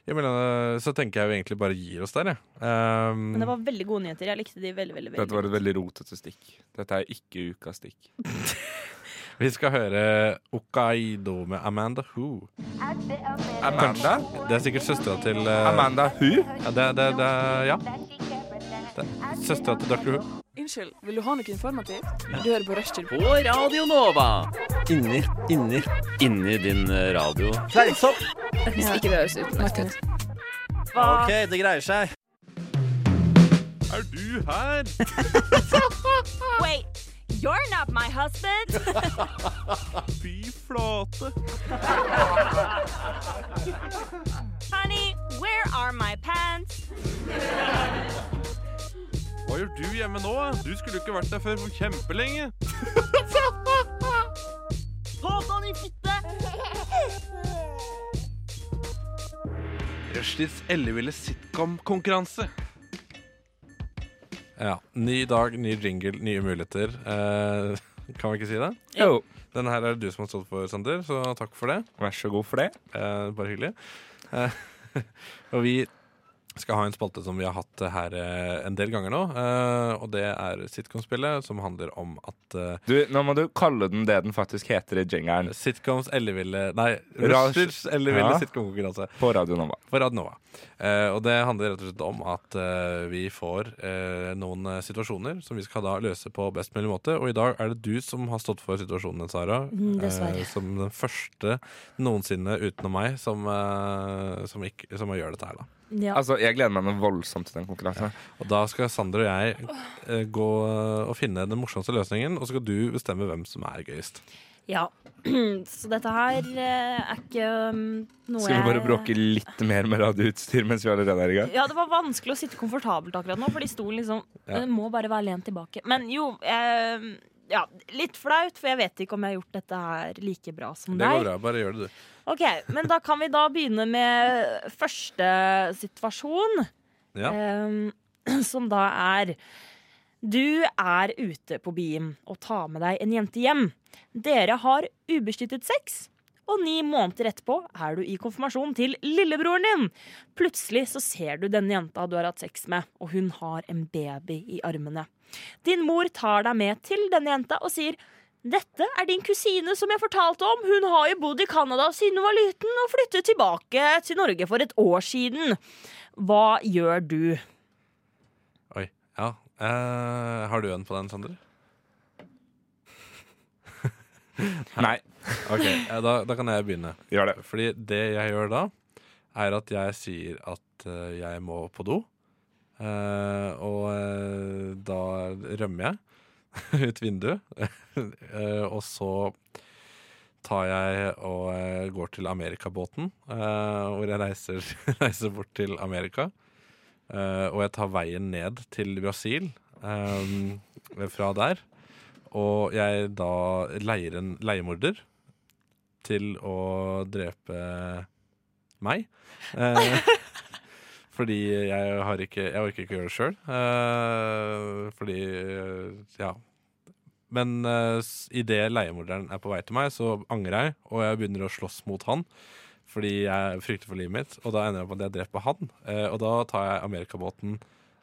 [SPEAKER 3] Jeg mener, så tenker jeg jo egentlig bare gir oss der, jeg. Ehm,
[SPEAKER 5] Men det var veldig gode nyheter. Jeg likte de veldig, veldig,
[SPEAKER 1] Dette
[SPEAKER 5] veldig.
[SPEAKER 1] var et veldig rotete stikk. Dette er ikke ukas stikk.
[SPEAKER 3] Vi skal høre Okaido med Amanda Who.
[SPEAKER 1] Amanda?
[SPEAKER 3] Det er sikkert søstera til eh,
[SPEAKER 1] Amanda Who?
[SPEAKER 3] Ja, det, det, det, ja. Det, søstera til Dr. Who.
[SPEAKER 8] Unnskyld, vil du ha noe informativt? Du hører på Rushtid.
[SPEAKER 9] På Radio Nova. Inni, inni, inni din eh, radio. Fleisopp!
[SPEAKER 8] Hvis ikke det høres utmerket ut.
[SPEAKER 9] OK, det greier seg.
[SPEAKER 3] Er du her?
[SPEAKER 4] Wait, you're not my husband.
[SPEAKER 3] Fy flate.
[SPEAKER 4] Honey, where are my pants?
[SPEAKER 3] Hva gjør du hjemme nå? Du skulle ikke vært der før for kjempelenge.
[SPEAKER 5] Satan i fitte!
[SPEAKER 3] Rushtids elleville sitcom-konkurranse. Ja. Ny dag, ny jingle, nye muligheter. Eh, [LAUGHS] kan vi ikke si det?
[SPEAKER 1] Jo,
[SPEAKER 3] Denne her er det du som har stått for, Sander, så takk for det.
[SPEAKER 1] vær så god for det.
[SPEAKER 3] Eh, bare hyggelig. Eh, [LAUGHS] og vi skal ha en spalte som vi har hatt her eh, en del ganger nå. Eh, og det er sitcom-spillet, som handler om at eh,
[SPEAKER 1] Du, nå må du kalle den det den faktisk heter i jingeren
[SPEAKER 3] sitcoms elleville Nei,
[SPEAKER 1] Rush-
[SPEAKER 3] Rushers elleville
[SPEAKER 1] Ja.
[SPEAKER 3] sitcom-konkurranse
[SPEAKER 1] på Radio Nova.
[SPEAKER 3] på Rad Nova. Eh, og det handler rett og slett om at eh, vi får eh, noen eh, situasjoner som vi skal da løse på best mulig måte. Og i dag er det du som har stått for situasjonen, Sara.
[SPEAKER 5] Mm, dessverre.
[SPEAKER 3] Eh, som den første noensinne utenom meg som, eh, som, ikke, som gjør dette her, da.
[SPEAKER 5] Ja.
[SPEAKER 1] Altså, Jeg gleder meg noe voldsomt til den konkurransen.
[SPEAKER 3] Og da skal Sander og jeg eh, gå og finne den morsomste løsningen, og så skal du bestemme hvem som er gøyest.
[SPEAKER 5] Ja. [CLEARS THROAT] Så dette her eh, er ikke um, noe
[SPEAKER 1] Skal vi bare
[SPEAKER 5] jeg-
[SPEAKER 1] bråke litt mer med radioutstyr mens vi allerede er i gang?
[SPEAKER 5] Ja, det var vanskelig å sitte komfortabelt akkurat nå, fordi stolen liksom
[SPEAKER 3] Ja.
[SPEAKER 5] eh, må bare være lent tilbake. Men jo eh, ja, Litt flaut, for jeg vet ikke om jeg har gjort dette her like bra som
[SPEAKER 3] Det går
[SPEAKER 5] deg.
[SPEAKER 3] bra, bare gjør det, du.
[SPEAKER 5] Ok, Men da kan vi da begynne med første situasjon,
[SPEAKER 3] Ja.
[SPEAKER 5] eh, [CLEARS THROAT] som da er du er ute på byen og tar med deg en jente hjem. Dere har ubeskyttet sex, og ni måneder etterpå er du i konfirmasjon til lillebroren din. Plutselig så ser du denne jenta du har hatt sex med, og hun har en baby i armene. Din mor tar deg med til denne jenta og sier dette er din kusine som jeg fortalte om. Hun har jo bodd i Canada siden hun var liten og flyttet tilbake til Norge for et år siden. Hva gjør du?
[SPEAKER 3] Oi. Ja. Eh, har du en på den, Sander?
[SPEAKER 1] Nei,
[SPEAKER 3] Ok, eh, da, da kan jeg begynne.
[SPEAKER 1] gjør det.
[SPEAKER 3] Fordi det jeg gjør da, er at jeg sier at eh, jeg må på do. Eh, og eh, da rømmer jeg [LAUGHS] ut vinduet. Eh, og så tar jeg og eh, går til Amerikabåten, eh, hvor jeg reiser, [LAUGHS] reiser bort til Amerika. Eh, og jeg tar veien ned til Brasil eh, fra der. Og jeg da leier en leiemorder til å drepe meg. Eh, fordi jeg har ikke Jeg orker ikke å gjøre det sjøl. Eh, fordi eh, Ja. Men eh, s- i idet leiemorderen er på vei til meg, så angrer jeg, og jeg begynner å slåss mot han. Fordi jeg frykter for livet mitt, og da ender jeg opp med at jeg dreper han. Eh, og da tar jeg amerikabåten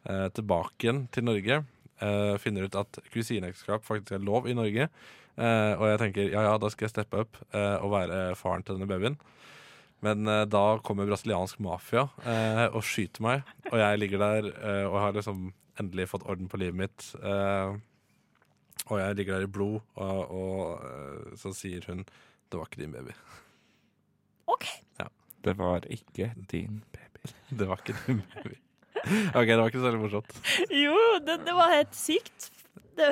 [SPEAKER 3] eh, tilbake igjen til Norge. Eh, finner ut at kusineekteskap faktisk er lov i Norge. Eh, og jeg tenker ja, ja, da skal jeg steppe opp eh, og være faren til denne babyen. Men eh, da kommer brasiliansk mafia eh, og skyter meg, og jeg ligger der eh, og har liksom endelig fått orden på livet mitt. Eh, og jeg ligger der i blod, og, og eh, så sier hun 'det var ikke din baby'.
[SPEAKER 5] OK.
[SPEAKER 1] Det var ikke din baby.
[SPEAKER 3] Det var ikke din baby. OK, det var ikke så veldig morsomt.
[SPEAKER 5] Jo, det, det var helt sykt. Det,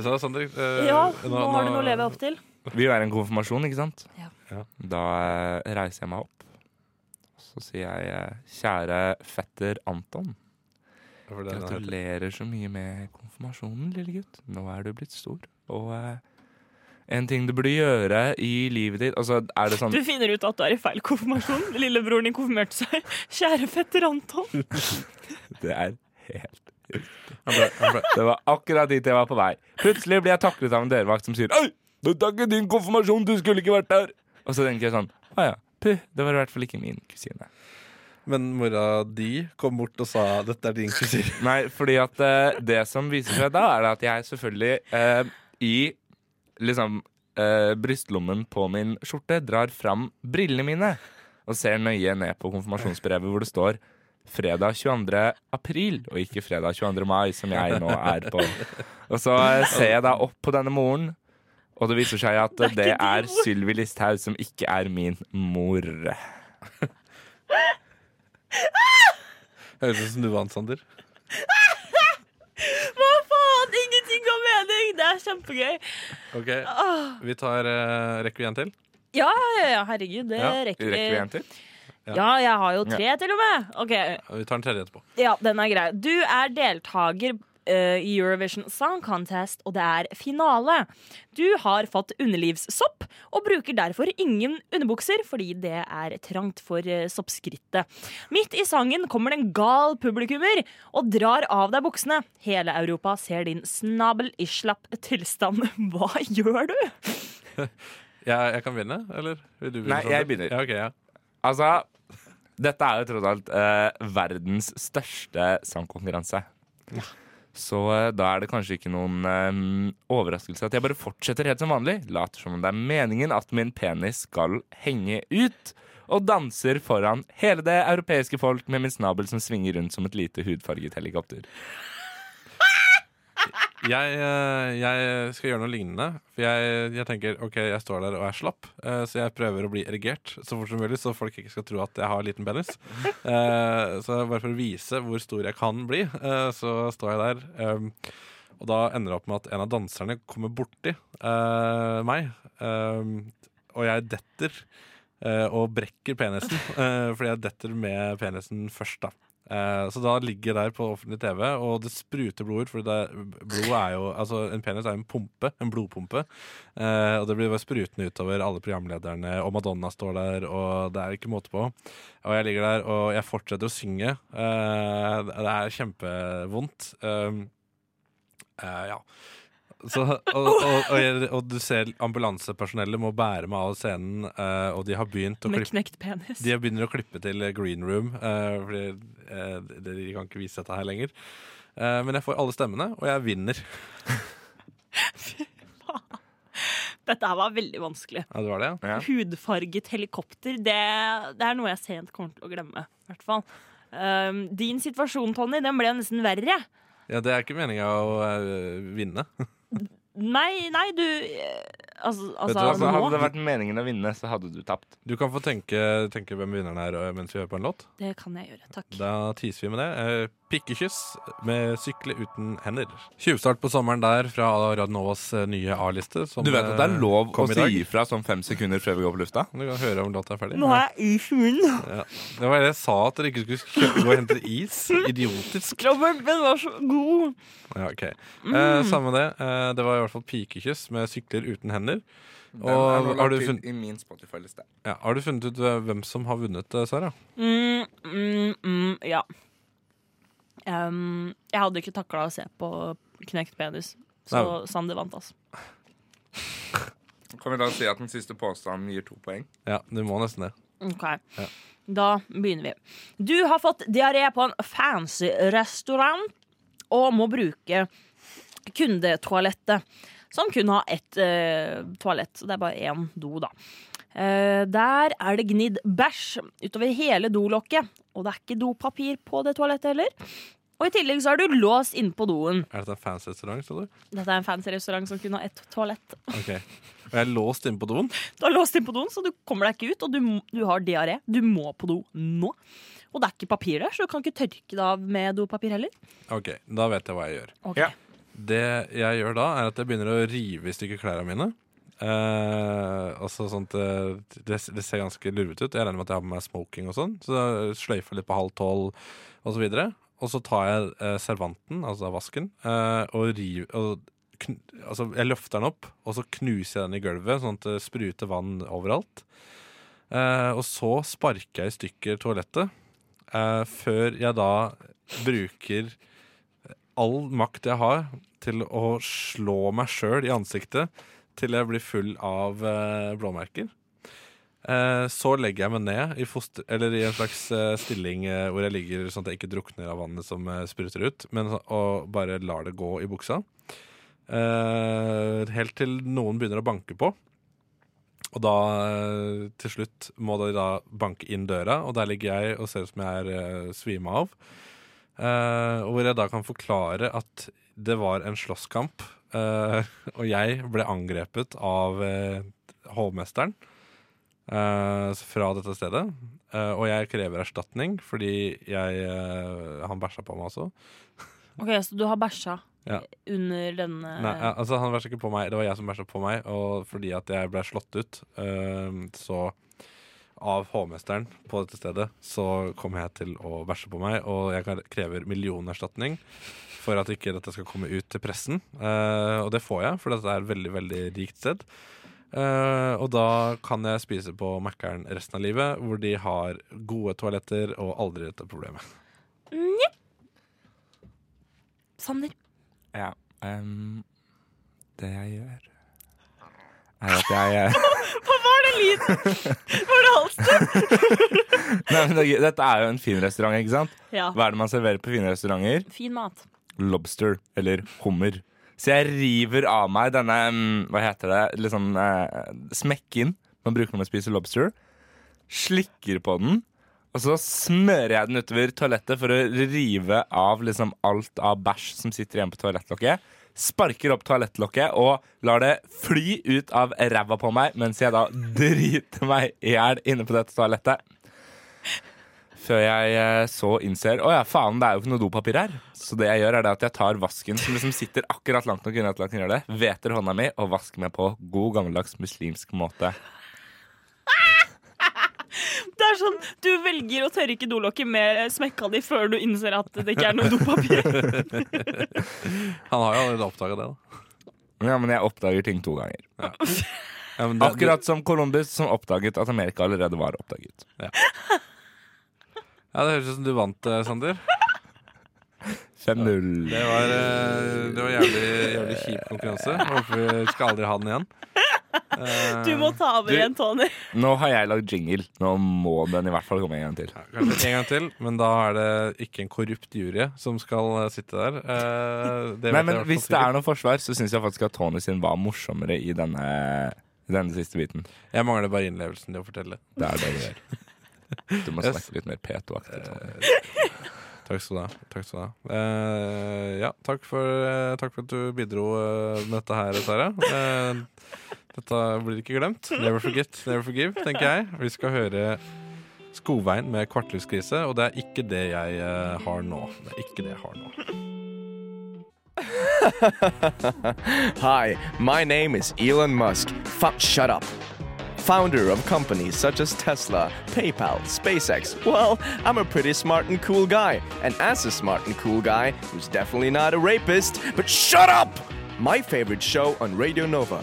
[SPEAKER 3] Så, Sander, eh,
[SPEAKER 5] ja, nå har du noe å leve opp til.
[SPEAKER 1] Vi er en konfirmasjon, ikke sant?
[SPEAKER 5] Ja.
[SPEAKER 3] Ja.
[SPEAKER 1] Da eh, reiser jeg meg opp. Så sier jeg eh, kjære fetter Anton.
[SPEAKER 3] For det er den her.
[SPEAKER 1] Gratulerer så mye med konfirmasjonen, lille gutt. Nå er du blitt stor. Og eh, en ting du burde gjøre i livet ditt Altså, er det sånn
[SPEAKER 5] Du finner ut at du er i feil konfirmasjon. Lillebroren din konfirmerte seg. [LAUGHS] Kjære fetter Anton.
[SPEAKER 1] Det er helt
[SPEAKER 3] Han ble, han ble,
[SPEAKER 1] Det var akkurat dit jeg var på vei. Plutselig blir jeg taklet av en dørvakt som sier Oi, dette er ikke din konfirmasjon, du skulle ikke vært der. Og så tenker jeg sånn Å ja, puh, det var i hvert fall ikke min kusine.
[SPEAKER 3] men mora di kom bort og sa 'dette er din kusine'.
[SPEAKER 1] Nei, fordi at eh, det som viser seg da, er at jeg selvfølgelig eh, i liksom eh, brystlommen på min skjorte drar fram brillene mine og ser nøye ned på konfirmasjonsbrevet hvor det står fredag 22. april, og ikke fredag 22. mai, som jeg nå er på. Og så eh, ser jeg da opp på denne moren, og det viser seg at det
[SPEAKER 5] Det er ikke
[SPEAKER 1] er
[SPEAKER 5] din mor.
[SPEAKER 1] Sylvi Listhaug, som ikke er min mor.
[SPEAKER 3] Høres ut som du vant, Sander.
[SPEAKER 5] Hva faen? Ingenting av mening! Det er kjempegøy.
[SPEAKER 3] OK, vi tar eh, Rekker vi en til?
[SPEAKER 5] Ja, ja, ja, herregud, det
[SPEAKER 3] Ja,
[SPEAKER 5] rekker
[SPEAKER 1] Rekker vi en til?
[SPEAKER 5] Ja, jeg har jo tre til og med. Ok,
[SPEAKER 3] Vi tar den tredje etterpå.
[SPEAKER 5] ja, den er grei. Du er deltaker eh, i Eurovision Song Contest, og det er finale. Du har fått underlivssopp og bruker derfor ingen underbukser, fordi det er trangt for eh, soppskrittet. Midt i sangen kommer det en gal publikummer og drar av deg buksene. Hele Europa ser din snabel i slapp tilstand. [LAUGHS] Hva gjør du?
[SPEAKER 3] Jeg, jeg kan begynne, eller? Vil du begynne,
[SPEAKER 1] Nei, jeg
[SPEAKER 3] Sander?
[SPEAKER 1] begynner.
[SPEAKER 3] Ja, ok, ja.
[SPEAKER 1] Altså, dette er jo tross alt eh, verdens største sangkonkurranse. Så eh, da er det kanskje ikke noen eh, overraskelse at jeg bare fortsetter helt som vanlig. Later som om det er meningen at min penis skal henge ut. Og danser foran hele det europeiske folk med min snabel som svinger rundt som et lite hudfarget helikopter.
[SPEAKER 3] Jeg, eh, jeg skal gjøre noe lignende. For jeg, jeg tenker ok, jeg står der og er slapp, eh, så jeg prøver å bli erigert så fort som mulig, så folk ikke skal tro at jeg har liten penis. Eh, Så bare for å vise hvor stor jeg kan bli, eh, så står jeg der. eh, Og da ender det opp med at en av danserne kommer borti eh, meg, eh, og jeg detter. eh, Og brekker penisen, [LAUGHS] eh, fordi jeg detter med penisen først, da. Eh, Så da ligger jeg der på offentlig TV, og det spruter blod ut. For det, blod er jo, altså en penis er jo en pumpe, en blodpumpe. Eh, og det blir bare sprutende utover alle programlederne, og Madonna står der, og det er ikke måte på. Og jeg ligger der, og jeg fortsetter å synge. Eh, det er kjempevondt. Um, eh, ja. Så, og, og, og, jeg, og du ser ambulansepersonellet må bære meg av scenen, eh, og de har begynt å
[SPEAKER 5] Med
[SPEAKER 3] klippe
[SPEAKER 5] knekt penis.
[SPEAKER 3] de begynner å klippe til Green Room, eh, fordi eh, de de kan ikke vise dette her lenger. Eh, men jeg får alle stemmene, og jeg vinner.
[SPEAKER 5] Dette her var veldig vanskelig.
[SPEAKER 3] Ja, det var det, ja.
[SPEAKER 1] Ja.
[SPEAKER 5] Hudfarget helikopter, det, det er noe jeg sent kommer til å glemme. i hvert fall. Um, din situasjon, Tony, den ble jo nesten verre.
[SPEAKER 3] ja det er ikke meninga å eh, vinne.
[SPEAKER 5] Nei, nei, du eh, Altså,
[SPEAKER 3] Vet du
[SPEAKER 5] altså
[SPEAKER 3] hva,
[SPEAKER 1] Altså, hadde
[SPEAKER 5] nå
[SPEAKER 1] det vært meningen å vinne, så hadde du tapt.
[SPEAKER 3] Du kan få tenke, tenke hvem vinneren er eh, mens vi hører på en låt.
[SPEAKER 5] Det kan jeg gjøre. Takk.
[SPEAKER 3] Da teaser vi med det. Eh, Pikkekyss med sykle uten hender. Tjuvstart på sommeren der fra Radionovas eh, nye A-liste. som, eh, kom i dag.
[SPEAKER 1] ifra sånn fem sekunder før vi går på lufta?
[SPEAKER 3] Du kan høre om låta er ferdig.
[SPEAKER 5] Nå har jeg is i munnen.
[SPEAKER 3] Det var det jeg sa, at dere ikke skulle kjø- gå og hente is. Idiotisk.
[SPEAKER 5] Kroppen var så god.
[SPEAKER 1] Mm.
[SPEAKER 3] Ja, ok. Eh, samme det. Eh, det var i hvert fall pikekyss med sykler uten hender.
[SPEAKER 1] Den er nå
[SPEAKER 3] Og har du
[SPEAKER 1] lagt til
[SPEAKER 3] funnet,
[SPEAKER 1] I min Spotify-liste.
[SPEAKER 3] ja, har du funnet ut eh, hvem som har vunnet, eh, Sara?
[SPEAKER 5] Mm, mm, mm, ja. Ehm, jeg hadde ikke takla å se på knekt penis, så
[SPEAKER 3] Nei.
[SPEAKER 5] Sander vant, altså.
[SPEAKER 1] Kan vi da si at den siste påstanden gir to poeng?
[SPEAKER 3] Ja, du må nesten det.
[SPEAKER 5] Ok,
[SPEAKER 3] Ja.
[SPEAKER 5] Da begynner vi. Du har fått diaré på en fancy restaurant og må bruke kundetoalettet, som kun har ett eh, toalett. Så det er bare én do, da. Eh, der er det gnidd bæsj utover hele dolokket, og det er ikke dopapir på det toalettet heller. Og i tillegg så er du låst inne på doen.
[SPEAKER 3] Er dette en fancy restaurant,
[SPEAKER 1] [LAUGHS]
[SPEAKER 3] sa du?
[SPEAKER 5] Dette er en fancy restaurant som kun har ett toalett.
[SPEAKER 3] Ok. Og jeg er låst inne på doen.
[SPEAKER 5] Du er låst inn på doen, så du kommer deg ikke ut, og du, m- du har diaré. Du må på do nå. Og det er ikke papir der, så du kan ikke tørke det av med dopapir heller.
[SPEAKER 3] Ok, da vet jeg hva jeg gjør.
[SPEAKER 5] Ok.
[SPEAKER 1] Ja.
[SPEAKER 3] Det jeg gjør da, er at jeg begynner å rive i stykker klærne mine. Eh, altså sånt, eh, det, det ser ganske lurvete ut. Jeg regner med at jeg har på meg smoking og sånn. Så jeg sløyfer litt på halv tolv og så videre. Og så tar jeg eh, servanten, altså vasken, eh, og river og kn Altså, jeg løfter den opp, og så knuser jeg den i gulvet, sånn at det spruter vann overalt. Eh, og så sparker jeg i stykker toalettet, eh, før jeg da bruker eh, all makt jeg har til å slå meg sjøl i ansiktet til jeg blir full av eh, blåmerker. Eh, så legger jeg meg ned i, foster, eller i en slags eh, stilling eh, hvor jeg ligger sånn at jeg ikke drukner av vannet som eh, spruter ut, men, så- og bare lar det gå i buksa. Eh, helt til noen begynner å banke på. Og da eh, til slutt må de da banke inn døra, og der ligger jeg og ser ut som jeg er eh, svima av. Eh, hvor jeg da kan forklare at det var en slåsskamp, eh, og jeg ble angrepet av eh, hovmesteren eh, fra dette stedet. Eh, og jeg krever erstatning fordi jeg eh, Han bæsja på meg også.
[SPEAKER 5] ok, Så du har bæsja
[SPEAKER 3] Ja.
[SPEAKER 5] under denne
[SPEAKER 3] Nei, eh, altså han bæsja ikke på meg. Det var jeg som bæsja på meg, og fordi at jeg ble slått ut, eh, så av hovmesteren på dette stedet, så kommer jeg til å bæsje på meg, og jeg kan- krever millionerstatning for at ikke dette skal komme ut til pressen. Eh, og det får jeg, for dette er et veldig, veldig rikt sted. Eh, og da kan jeg spise på Mækkern resten av livet, hvor de har gode toaletter og aldri dette problemet. [LAUGHS]
[SPEAKER 5] Sander.
[SPEAKER 1] Ja. ehm, det jeg gjør, er at jeg [LAUGHS]
[SPEAKER 5] Var det lyd? [LAUGHS] Var det halsen?
[SPEAKER 1] Nei, men det- Dette er jo en fin restaurant, ikke sant?
[SPEAKER 5] Ja.
[SPEAKER 1] Hva er det man serverer på fine restauranter?
[SPEAKER 5] Fin mat.
[SPEAKER 1] Lobster eller hummer. Så jeg river av meg denne mm, Hva heter det? Litt sånn eh, smekken man bruker når man spiser lobster. Slikker på den, og så smører jeg den utover toalettet for å rive av liksom alt av bæsj som sitter igjen på toalettlokket. Sparker opp toalettlokket og lar det fly ut av ræva på meg mens jeg da [LAUGHS] driter meg i hjel inne på dette toalettet. Før jeg eh, så innser Å ja, faen, det er jo ikke noe dopapir her. Så det jeg gjør, er det at jeg tar vasken som liksom sitter akkurat langt nok unna til at den gjør det, hveter hånda mi og vasker meg på god gammeldags muslimsk måte.
[SPEAKER 5] Det er sånn, Du velger å tørke dolokket med smekka di før du innser at det ikke er noe dopapir.
[SPEAKER 3] Han har jo allerede oppdaga det, da.
[SPEAKER 1] Ja, men jeg oppdager ting to ganger.
[SPEAKER 3] Ja, men det-
[SPEAKER 1] Akkurat som Columbus, som oppdaget at Amerika allerede var oppdaget.
[SPEAKER 3] Ja, det høres ut som du vant, eh, Sander.
[SPEAKER 1] 5-0.
[SPEAKER 3] Det var, eh, det var jævlig, jævlig kjip konkurranse. Håper vi skal aldri ha den igjen. Eh,
[SPEAKER 5] [LAUGHS] Du må ta over
[SPEAKER 1] Du-
[SPEAKER 5] igjen, Tony.
[SPEAKER 1] Nå har jeg lagd jingle. Nå må den i hvert fall komme en gang til.
[SPEAKER 3] Eh, Kanskje en gang til, men da er det ikke en korrupt jury som skal eh, sitte der. Eh, det vet
[SPEAKER 1] Nei,
[SPEAKER 3] jeg i
[SPEAKER 1] men
[SPEAKER 3] hvert fall
[SPEAKER 1] Hvis det
[SPEAKER 3] sikkert.
[SPEAKER 1] er noe forsvar, så syns jeg faktisk at Tony sin var morsommere i denne, i denne siste biten.
[SPEAKER 3] Jeg mangler bare innlevelsen i å fortelle.
[SPEAKER 1] Det er det du gjør. Du må
[SPEAKER 3] Yes.
[SPEAKER 1] snakke litt mer P2-aktig. Tony.
[SPEAKER 3] Eh, Takk skal du ha. Takk, skal du ha. Eh, ja, takk, for, eh, takk for at du bidro eh, med dette her, Sara. Eh, dette blir ikke glemt. Never forget, never forgive, tenker jeg. Vi skal høre Skogveien med kvartlivskrise, og det er ikke det jeg eh, har nå. Det er ikke det jeg har nå.
[SPEAKER 2] Hi, my name is Elon Musk. Fuck, shut up. Founder of companies such as Tesla, PayPal, SpaceX. Well, I'm a pretty smart and cool guy. And as a smart and cool guy, who's definitely not a rapist, but shut up! My favorite show on Radio Nova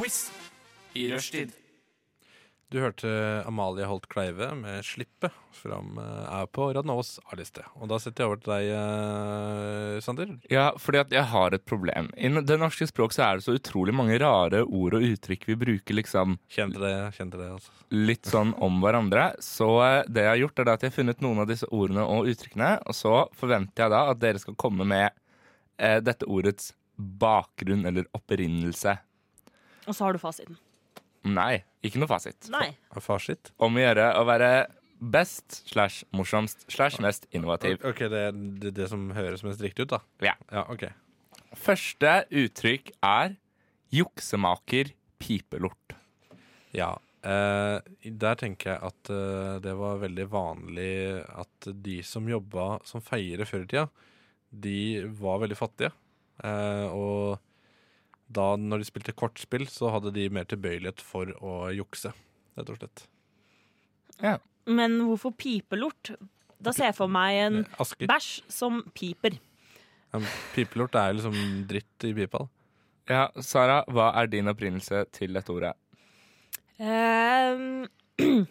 [SPEAKER 10] Quiz i rushtid.
[SPEAKER 3] Du hørte Amalie Holt Kleive med 'Slippe' fram eh, er på Radnovas A-liste. Og da setter jeg over til deg, eh, Sander.
[SPEAKER 1] Ja, fordi at jeg har et problem. I n- det norske språk så er det så utrolig mange rare ord og uttrykk vi bruker liksom
[SPEAKER 3] Kjente det, kjente det, altså.
[SPEAKER 1] litt sånn om hverandre. Så eh, det jeg har gjort, er det at jeg har funnet noen av disse ordene og uttrykkene, og så forventer jeg da at dere skal komme med eh, dette ordets bakgrunn eller opprinnelse.
[SPEAKER 5] Og så har du fasiten.
[SPEAKER 1] Nei, ikke noe fasit.
[SPEAKER 5] Nei.
[SPEAKER 3] Fasit.
[SPEAKER 1] Om å gjøre å være best slash morsomst slash mest innovativ.
[SPEAKER 3] Ok, det er det, det som høres mest riktig ut, da.
[SPEAKER 1] Ja.
[SPEAKER 3] Ja, ok.
[SPEAKER 1] Første uttrykk er juksemaker pipelort.
[SPEAKER 3] Ja. eh, der tenker jeg at eh, det var veldig vanlig at de som jobba som feiere før i tida, de var veldig fattige. Eh, og da når de spilte kortspill, så hadde de mer tilbøyelighet for å jukse, rett og slett.
[SPEAKER 5] Men hvorfor pipelort? Da ser jeg for meg en
[SPEAKER 3] Eh, Asker.
[SPEAKER 5] bæsj som piper.
[SPEAKER 3] Ja, men Pipelort er liksom dritt i pipa. da.
[SPEAKER 1] Ja, Sara, hva er din opprinnelse til dette ordet?
[SPEAKER 5] Ehm, [CLEARS THROAT]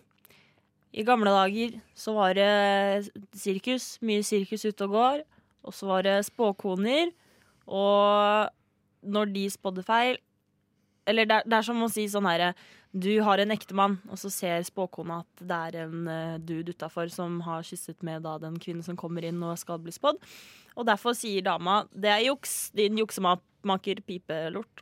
[SPEAKER 5] I gamle dager så var det sirkus, mye sirkus ute og går. Og så var det spåkoner. Og når de spådde feil Eller det, er- det er som å si sånn herre Du har en ektemann, og så ser spåkona at det er en eh, dude utafor som har kysset med da den kvinnen som kommer inn og skal bli spådd. Og derfor sier dama 'Det er juks, din juksemaker pipelort'.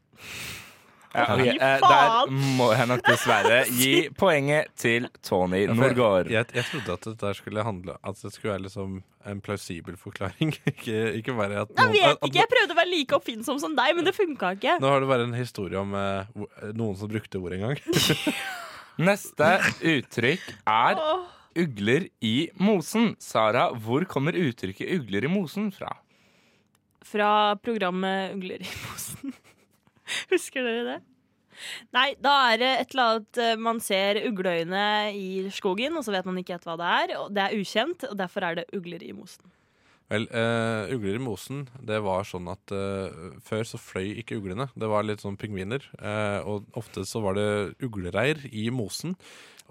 [SPEAKER 1] Ja, ok,
[SPEAKER 5] Fy
[SPEAKER 1] eh, Der
[SPEAKER 5] faen!
[SPEAKER 1] må jeg nok
[SPEAKER 5] [LAUGHS]
[SPEAKER 1] dessverre gi poenget til Tony
[SPEAKER 3] for jeg-
[SPEAKER 1] Norgård.
[SPEAKER 3] Jeg, jeg trodde at det der skulle handle At det skulle være liksom en plausibel forklaring. [LAUGHS] ikke, ikke bare at
[SPEAKER 5] Jeg
[SPEAKER 3] noen-
[SPEAKER 5] vet
[SPEAKER 3] at- at
[SPEAKER 5] ikke, jeg prøvde å være like oppfinnsom som deg, men det funka ikke.
[SPEAKER 3] Nå har du bare en historie om eh, hvor- noen som brukte ordet en gang. [LAUGHS]
[SPEAKER 1] Neste uttrykk er
[SPEAKER 5] Åh.
[SPEAKER 1] ugler i mosen. Sara, hvor kommer uttrykket ugler i mosen fra?
[SPEAKER 5] Fra programmet Ugler i mosen. [LAUGHS] Husker dere det? Nei, da er det et eller annet eh, man ser ugleøyne i skogen, og så vet man ikke helt hva det er. Og det er ukjent, og derfor er det ugler i mosen.
[SPEAKER 3] Vel, eh, Ugler i mosen, det var sånn at eh, før så fløy ikke uglene. Det var litt sånn pingviner. eh, og ofte så var det uglereir i mosen.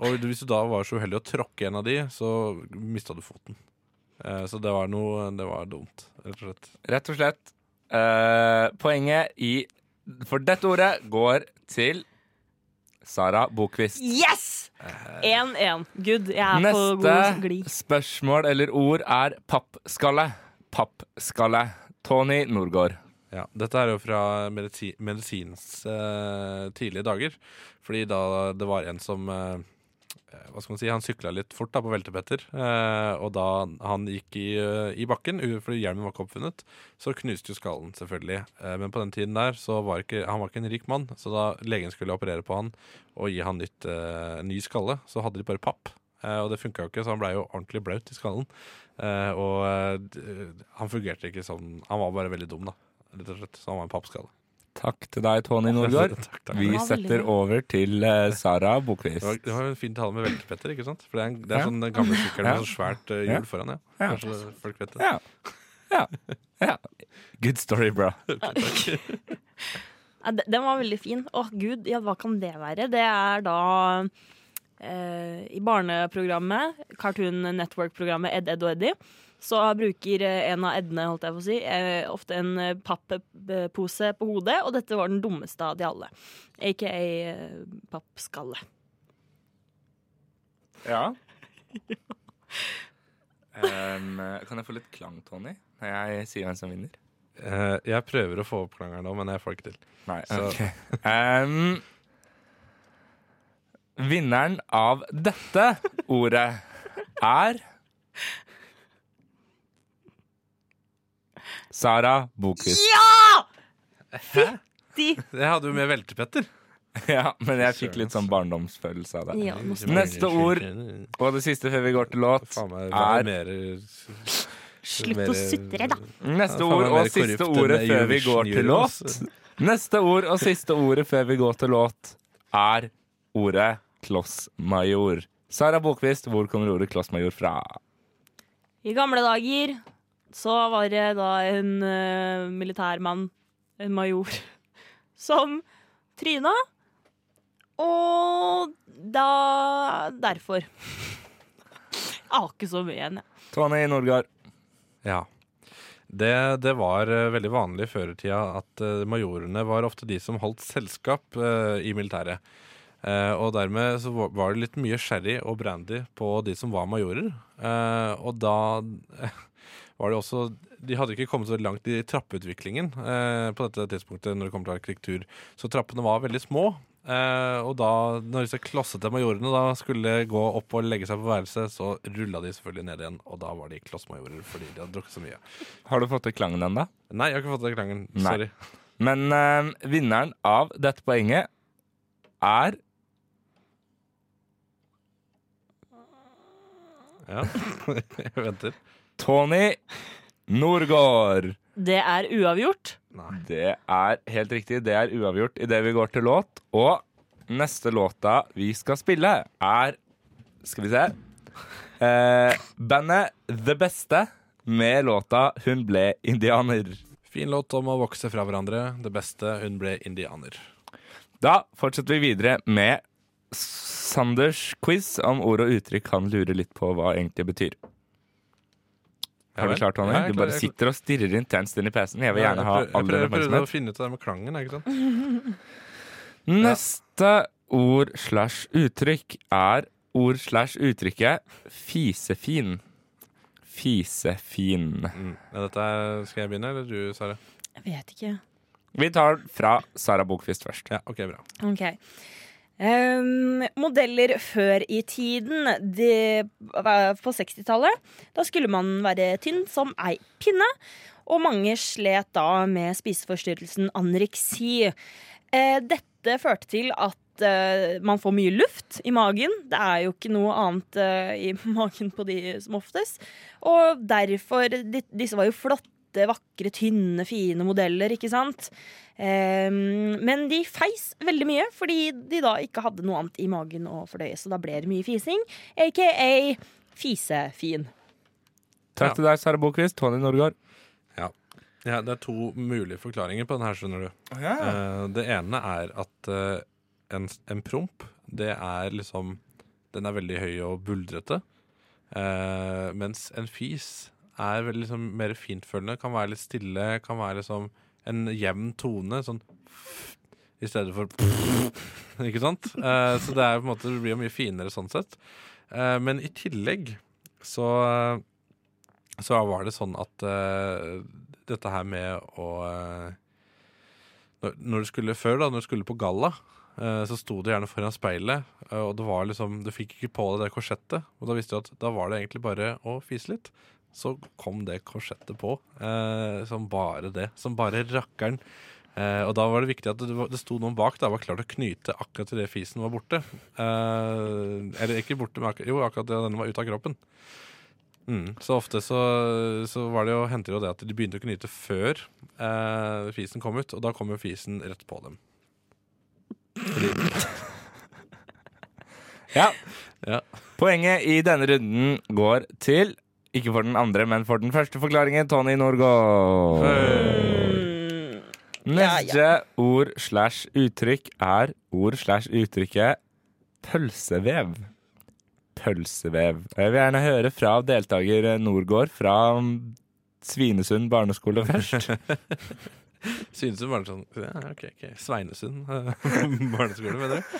[SPEAKER 3] Og hvis du da var så uheldig å tråkke en av de, så mista du foten. Eh, så det var noe Det var dumt, rett og slett.
[SPEAKER 1] Rett og slett. eh, poenget i For dette ordet går til Sara Bokvist.
[SPEAKER 5] Yes!
[SPEAKER 3] Eh.
[SPEAKER 5] 1-1. Good. Jeg er på god
[SPEAKER 1] Neste
[SPEAKER 5] glid.
[SPEAKER 1] spørsmål eller ord er pappskalle. Pappskalle. Tony Norgård.
[SPEAKER 3] Ja, Dette er jo fra medisi medisins eh, tidlige dager. Fordi da det var en som eh, Hva skal man si, han sykla litt fort da på veltepetter. eh, og da han gikk i, eh, i bakken, u- fordi hjelmen var ikke oppfunnet, så knuste jo skallen, selvfølgelig. Eh, men på den tiden der så var ikke, han var ikke en rik mann, så da legen skulle operere på han og gi han nytt, eh, ny skalle, så hadde de bare papp. Eh, og det funka jo ikke, så han blei jo ordentlig blaut i skallen. Eh, og eh, d- han fungerte ikke sånn Han var bare veldig dum, da rett og slett. Så han var en pappskalle.
[SPEAKER 1] Takk til deg, Tony [LAUGHS] Norgård.
[SPEAKER 3] [LAUGHS] Takk, takk.
[SPEAKER 1] Vi
[SPEAKER 5] Det var veldig
[SPEAKER 1] setter
[SPEAKER 5] bra.
[SPEAKER 1] over til eh, Sara Bokvist.
[SPEAKER 3] Det var, det var en fin tale med veltepetter, ikke sant? For det er, en, det er
[SPEAKER 1] Ja.
[SPEAKER 3] sånn den gamle sykkelen
[SPEAKER 1] Ja.
[SPEAKER 3] med så svært eh, hjul
[SPEAKER 1] Ja.
[SPEAKER 3] foran, ja.
[SPEAKER 1] Ja.
[SPEAKER 3] Kanskje det- folk vet det.
[SPEAKER 1] Ja. Ja. ja. Good story, bro.
[SPEAKER 5] Ja, de- Den var veldig fin. Åh, gud, ja, hva kan det være? Det er da eh, i barneprogrammet, Cartoon Network-programmet Ed, Ed og Eddie, så bruker eh, en av Edne, holdt jeg på å si, eh, ofte en eh, papppose på hodet, og dette var den dummeste av de alle. Aka eh, pappskalle.
[SPEAKER 1] Ja. [LAUGHS] Em, kan jeg få litt klang, Tony, når jeg sier hvem som vinner?
[SPEAKER 3] Eh, jeg prøver å få opp klangeren nå, men jeg får ikke til.
[SPEAKER 1] Nei,
[SPEAKER 3] Så-
[SPEAKER 1] ok. [LAUGHS] Em, vinneren av dette ordet er Sara Bokus.
[SPEAKER 3] Hæ? Det hadde jo med veltepetter.
[SPEAKER 1] [LAUGHS] Ja, men jeg fikk litt sånn barndomsfølelse av det.
[SPEAKER 3] Ja, måske.
[SPEAKER 1] Neste ord, og det siste før vi går til låt,
[SPEAKER 3] hva er
[SPEAKER 1] er
[SPEAKER 5] Slutt å sutre, da.
[SPEAKER 1] Neste
[SPEAKER 3] Ja, faen, det
[SPEAKER 1] ord
[SPEAKER 3] er mer
[SPEAKER 1] og siste
[SPEAKER 3] korrupt
[SPEAKER 1] ordet
[SPEAKER 3] enn
[SPEAKER 1] før vi
[SPEAKER 3] Eurovision
[SPEAKER 1] går til
[SPEAKER 3] Euro,
[SPEAKER 1] låt Neste ord og siste ordet før vi går til låt, er ordet klossmajor. Sara Bokvist, hvor kommer ordet klossmajor fra?
[SPEAKER 5] I gamle dager så var det da en eh, militærmann, en major, [LAUGHS] som tryna. Og da derfor. [LAUGHS] Jeg har ikke så mye igjen, jeg.
[SPEAKER 1] Tone i Norgard.
[SPEAKER 3] Ja. Det, det var eh, veldig vanlig i førertida at eh, majorene var ofte de som holdt selskap eh, i militæret. Eh, og dermed så va- var det litt mye sherry og brandy på de som var majorer. Eh, og da [LAUGHS] eh, var det også De hadde ikke kommet så langt i trappeutviklingen eh, på dette tidspunktet når det kommer til arkitektur, så trappene var veldig små. Eh, og da, når disse klossete majorene da skulle gå opp og legge seg på værelset, så rulla de selvfølgelig ned igjen, og da var de klossmajorer fordi de hadde drukket så mye.
[SPEAKER 1] Har du fått til klangen ennå?
[SPEAKER 3] Nei, jeg har ikke fått den klangen.
[SPEAKER 1] Nei.
[SPEAKER 3] Sorry.
[SPEAKER 1] Men eh, vinneren av dette poenget er
[SPEAKER 3] Ja, [LAUGHS] jeg venter.
[SPEAKER 1] Tony Norgård.
[SPEAKER 5] Det er uavgjort.
[SPEAKER 1] Det er helt riktig. Det er uavgjort idet vi går til låt. Og neste låta vi skal spille, er Skal vi se. Eh, bandet Det Beste med låta 'Hun ble indianer'.
[SPEAKER 3] Fin låt om å vokse fra hverandre. Det beste, hun ble indianer.
[SPEAKER 1] Da fortsetter vi videre med Sanders quiz om ord og uttrykk han lurer litt på hva egentlig betyr.
[SPEAKER 3] Ja
[SPEAKER 1] Har du
[SPEAKER 3] vel.
[SPEAKER 1] klart, Hanne?
[SPEAKER 3] Ja, jeg
[SPEAKER 1] Du bare
[SPEAKER 3] klarer- jeg-
[SPEAKER 1] sitter og stirrer intenst inn i PC-en. Jeg vil
[SPEAKER 3] Ja,
[SPEAKER 1] gjerne ha
[SPEAKER 3] prøver-
[SPEAKER 1] all den
[SPEAKER 3] Jeg prøvde å
[SPEAKER 1] oppmerksomhet.
[SPEAKER 3] finne ut av det med klangen, er ikke sant?
[SPEAKER 1] Neste ord slash uttrykk er ord slash uttrykket fisefin. Fisefin.
[SPEAKER 3] Ja, dette er, skal jeg begynne, eller du, Sara?
[SPEAKER 5] Jeg vet ikke.
[SPEAKER 1] Vi tar fra Sara Bokvist først.
[SPEAKER 3] Ja, ok, bra.
[SPEAKER 5] Ok. Ehm, modeller før i tiden, det var på 60-tallet, da skulle man være tynn som ei pinne. Og mange slet da med spiseforstyrrelsen anoreksi. Eh, dette førte til at eh, man får mye luft i magen. Det er jo ikke noe annet eh, i [LAUGHS] magen på de som oftest. Og derfor de, Disse var jo flotte, vakre, tynne, fine modeller, ikke sant? Eh, men de feis veldig mye fordi de da ikke hadde noe annet i magen å fordøye. Så da ble det mye fising, aka fisefin.
[SPEAKER 1] Takk til deg, Sara Bokvist. Tony Norgård.
[SPEAKER 3] Ja. ja. Det er to mulige forklaringer på den her, skjønner du.
[SPEAKER 1] Å, ja.
[SPEAKER 3] Eh, det ene er at eh, en, en promp, det er liksom Den er veldig høy og buldrete. Eh, mens en fis er vel liksom mer fintfølende, kan være litt stille, kan være liksom en jevn tone. Sånn i stedet for [LAUGHS] Ikke sant? Eh, så det er på en måte Det blir jo mye finere sånn sett. Eh, men i tillegg så eh, så var det sånn at eh, dette her med å eh, når, når du skulle før, da, når du skulle på galla, eh, så sto du gjerne foran speilet, eh, og det var liksom, du fikk ikke på deg det korsettet. Og da visste du at da var det egentlig bare å fise litt. Så kom det korsettet på, eh, som bare det. Som bare rakkeren. Eh, og da var det viktig at det, var- det sto noen bak da, var klar til å knyte akkurat til det fisen var borte. Eh, eller ikke borte, men akkurat, jo, akkurat det den var ute av kroppen. Mm. Så ofte så, så var det jo, hendte det jo det at de begynte å knyte før eh, fisen kom ut, og da kom jo fisen rett på dem.
[SPEAKER 1] Ja.
[SPEAKER 3] ja.
[SPEAKER 1] Poenget i denne runden går til ikke for den andre, men for den første forklaringen, Tony Norgård. Neste ord slash uttrykk er ord slash uttrykket pølsevev. Pølsevev. Jeg vil gjerne høre fra deltaker Norgård fra mm, Svinesund barneskole
[SPEAKER 3] [LAUGHS]
[SPEAKER 1] først.
[SPEAKER 3] Synes du bare sånn ja, ok, ok, [LAUGHS] Sveinesund eh, barneskole, mener du?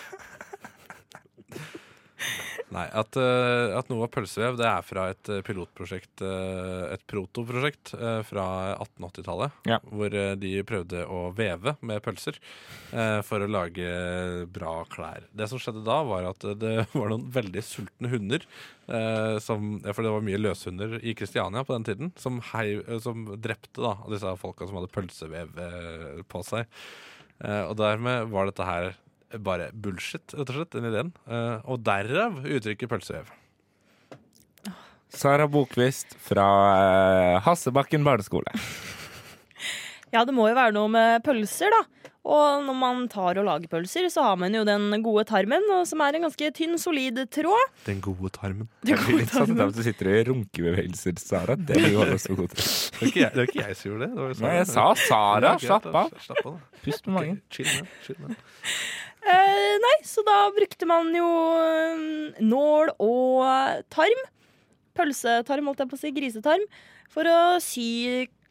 [SPEAKER 3] Nei, at, eh, at noe av pølsevev det er fra et eh, pilotprosjekt, eh, et protoprosjekt eh, fra 1880-tallet.
[SPEAKER 1] Ja.
[SPEAKER 3] Hvor eh, de prøvde å veve med pølser eh, for å lage bra klær. Det som skjedde da, var at eh, det [LAUGHS] var noen veldig sultne hunder. eh, som, ja, for det var mye løshunder i Kristiania på den tiden, som, hei, eh, som drepte da, disse folka som hadde pølsevev eh, på seg. Eh, og dermed var dette her bare bullshit, rett og slett, den ideen. Eh, og derav uttrykket pølsevev.
[SPEAKER 1] Sara Bokvist fra eh, Hassebakken barneskole.
[SPEAKER 5] Ja, det må jo være noe med pølser, da. Og når man tar og lager pølser, så har man jo den gode tarmen, og som er en ganske tynn, solid tråd.
[SPEAKER 3] Den gode tarmen.
[SPEAKER 1] sånn, Den gode tarmen. Du sitter i runkebevegelser, Sara. Det vil holde oss for gode til.
[SPEAKER 3] Det var ikke jeg, det var ikke jeg som gjorde det. det var jo Sara.
[SPEAKER 1] Nei, jeg sa Sara.
[SPEAKER 3] Ja, greit, altså.
[SPEAKER 1] Slapp
[SPEAKER 3] da.
[SPEAKER 1] av.
[SPEAKER 3] Slapp av da.
[SPEAKER 1] Pust med magen.
[SPEAKER 3] Chill med, chill med.
[SPEAKER 5] Eh, nei, så da brukte man jo eh, nål og tarm. Pølsetarm, holdt jeg på å si. Grisetarm. For å sy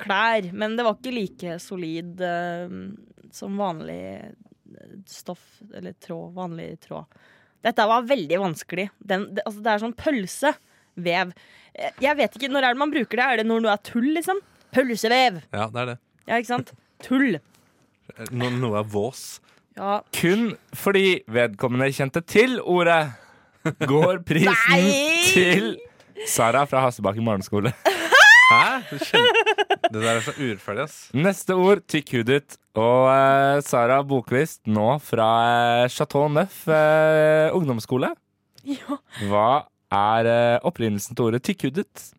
[SPEAKER 5] klær. Men det var ikke like solid eh, som vanlig eh, stoff, eller tråd. Vanlig tråd. Dette var veldig vanskelig. Den, det, altså, det er sånn pølsevev. Eh, Jeg vet ikke, når er det man bruker det? Er det når noe er tull, liksom? Pølsevev!
[SPEAKER 3] Ja, det er det.
[SPEAKER 5] Ja, ikke sant? Tull.
[SPEAKER 3] Eh, No, noe er vås.
[SPEAKER 5] Ja.
[SPEAKER 1] Kun fordi vedkommende kjente til ordet, går prisen
[SPEAKER 5] Nei!
[SPEAKER 1] til Sara fra Hassebakken barneskole.
[SPEAKER 3] Hæ? Du kjenner- Det der er så urettferdig, ass.
[SPEAKER 1] [LAUGHS] Neste ord tykkhudet. Og eh, Sara Bokvist, nå fra eh, Chateau Neuf eh, ungdomsskole.
[SPEAKER 5] Ja.
[SPEAKER 1] Hva er eh, opprinnelsen til ordet tykkhudet?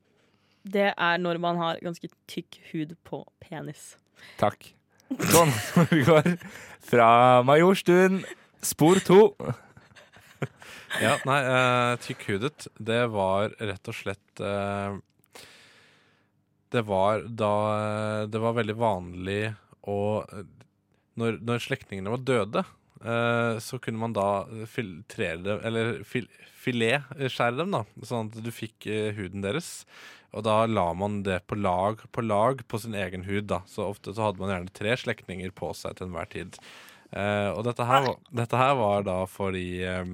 [SPEAKER 5] Det er når man har ganske tykk hud på penis.
[SPEAKER 1] Takk. Sånn [LAUGHS] går fra Majorstuen, spor to.
[SPEAKER 3] Ja, nei, eh, tykkhudet, det var rett og slett eh, Det var da eh, Det var veldig vanlig å eh, Når, når slektningene var døde, eh, så kunne man da filtrere dem Eller fil, filetskjære dem, da, sånn at du fikk eh, huden deres. Og da la man det på lag på lag på sin egen hud, da. Så ofte så hadde man gjerne tre slektninger på seg til enhver tid. Eh, og dette her, var- dette her var da fordi eh,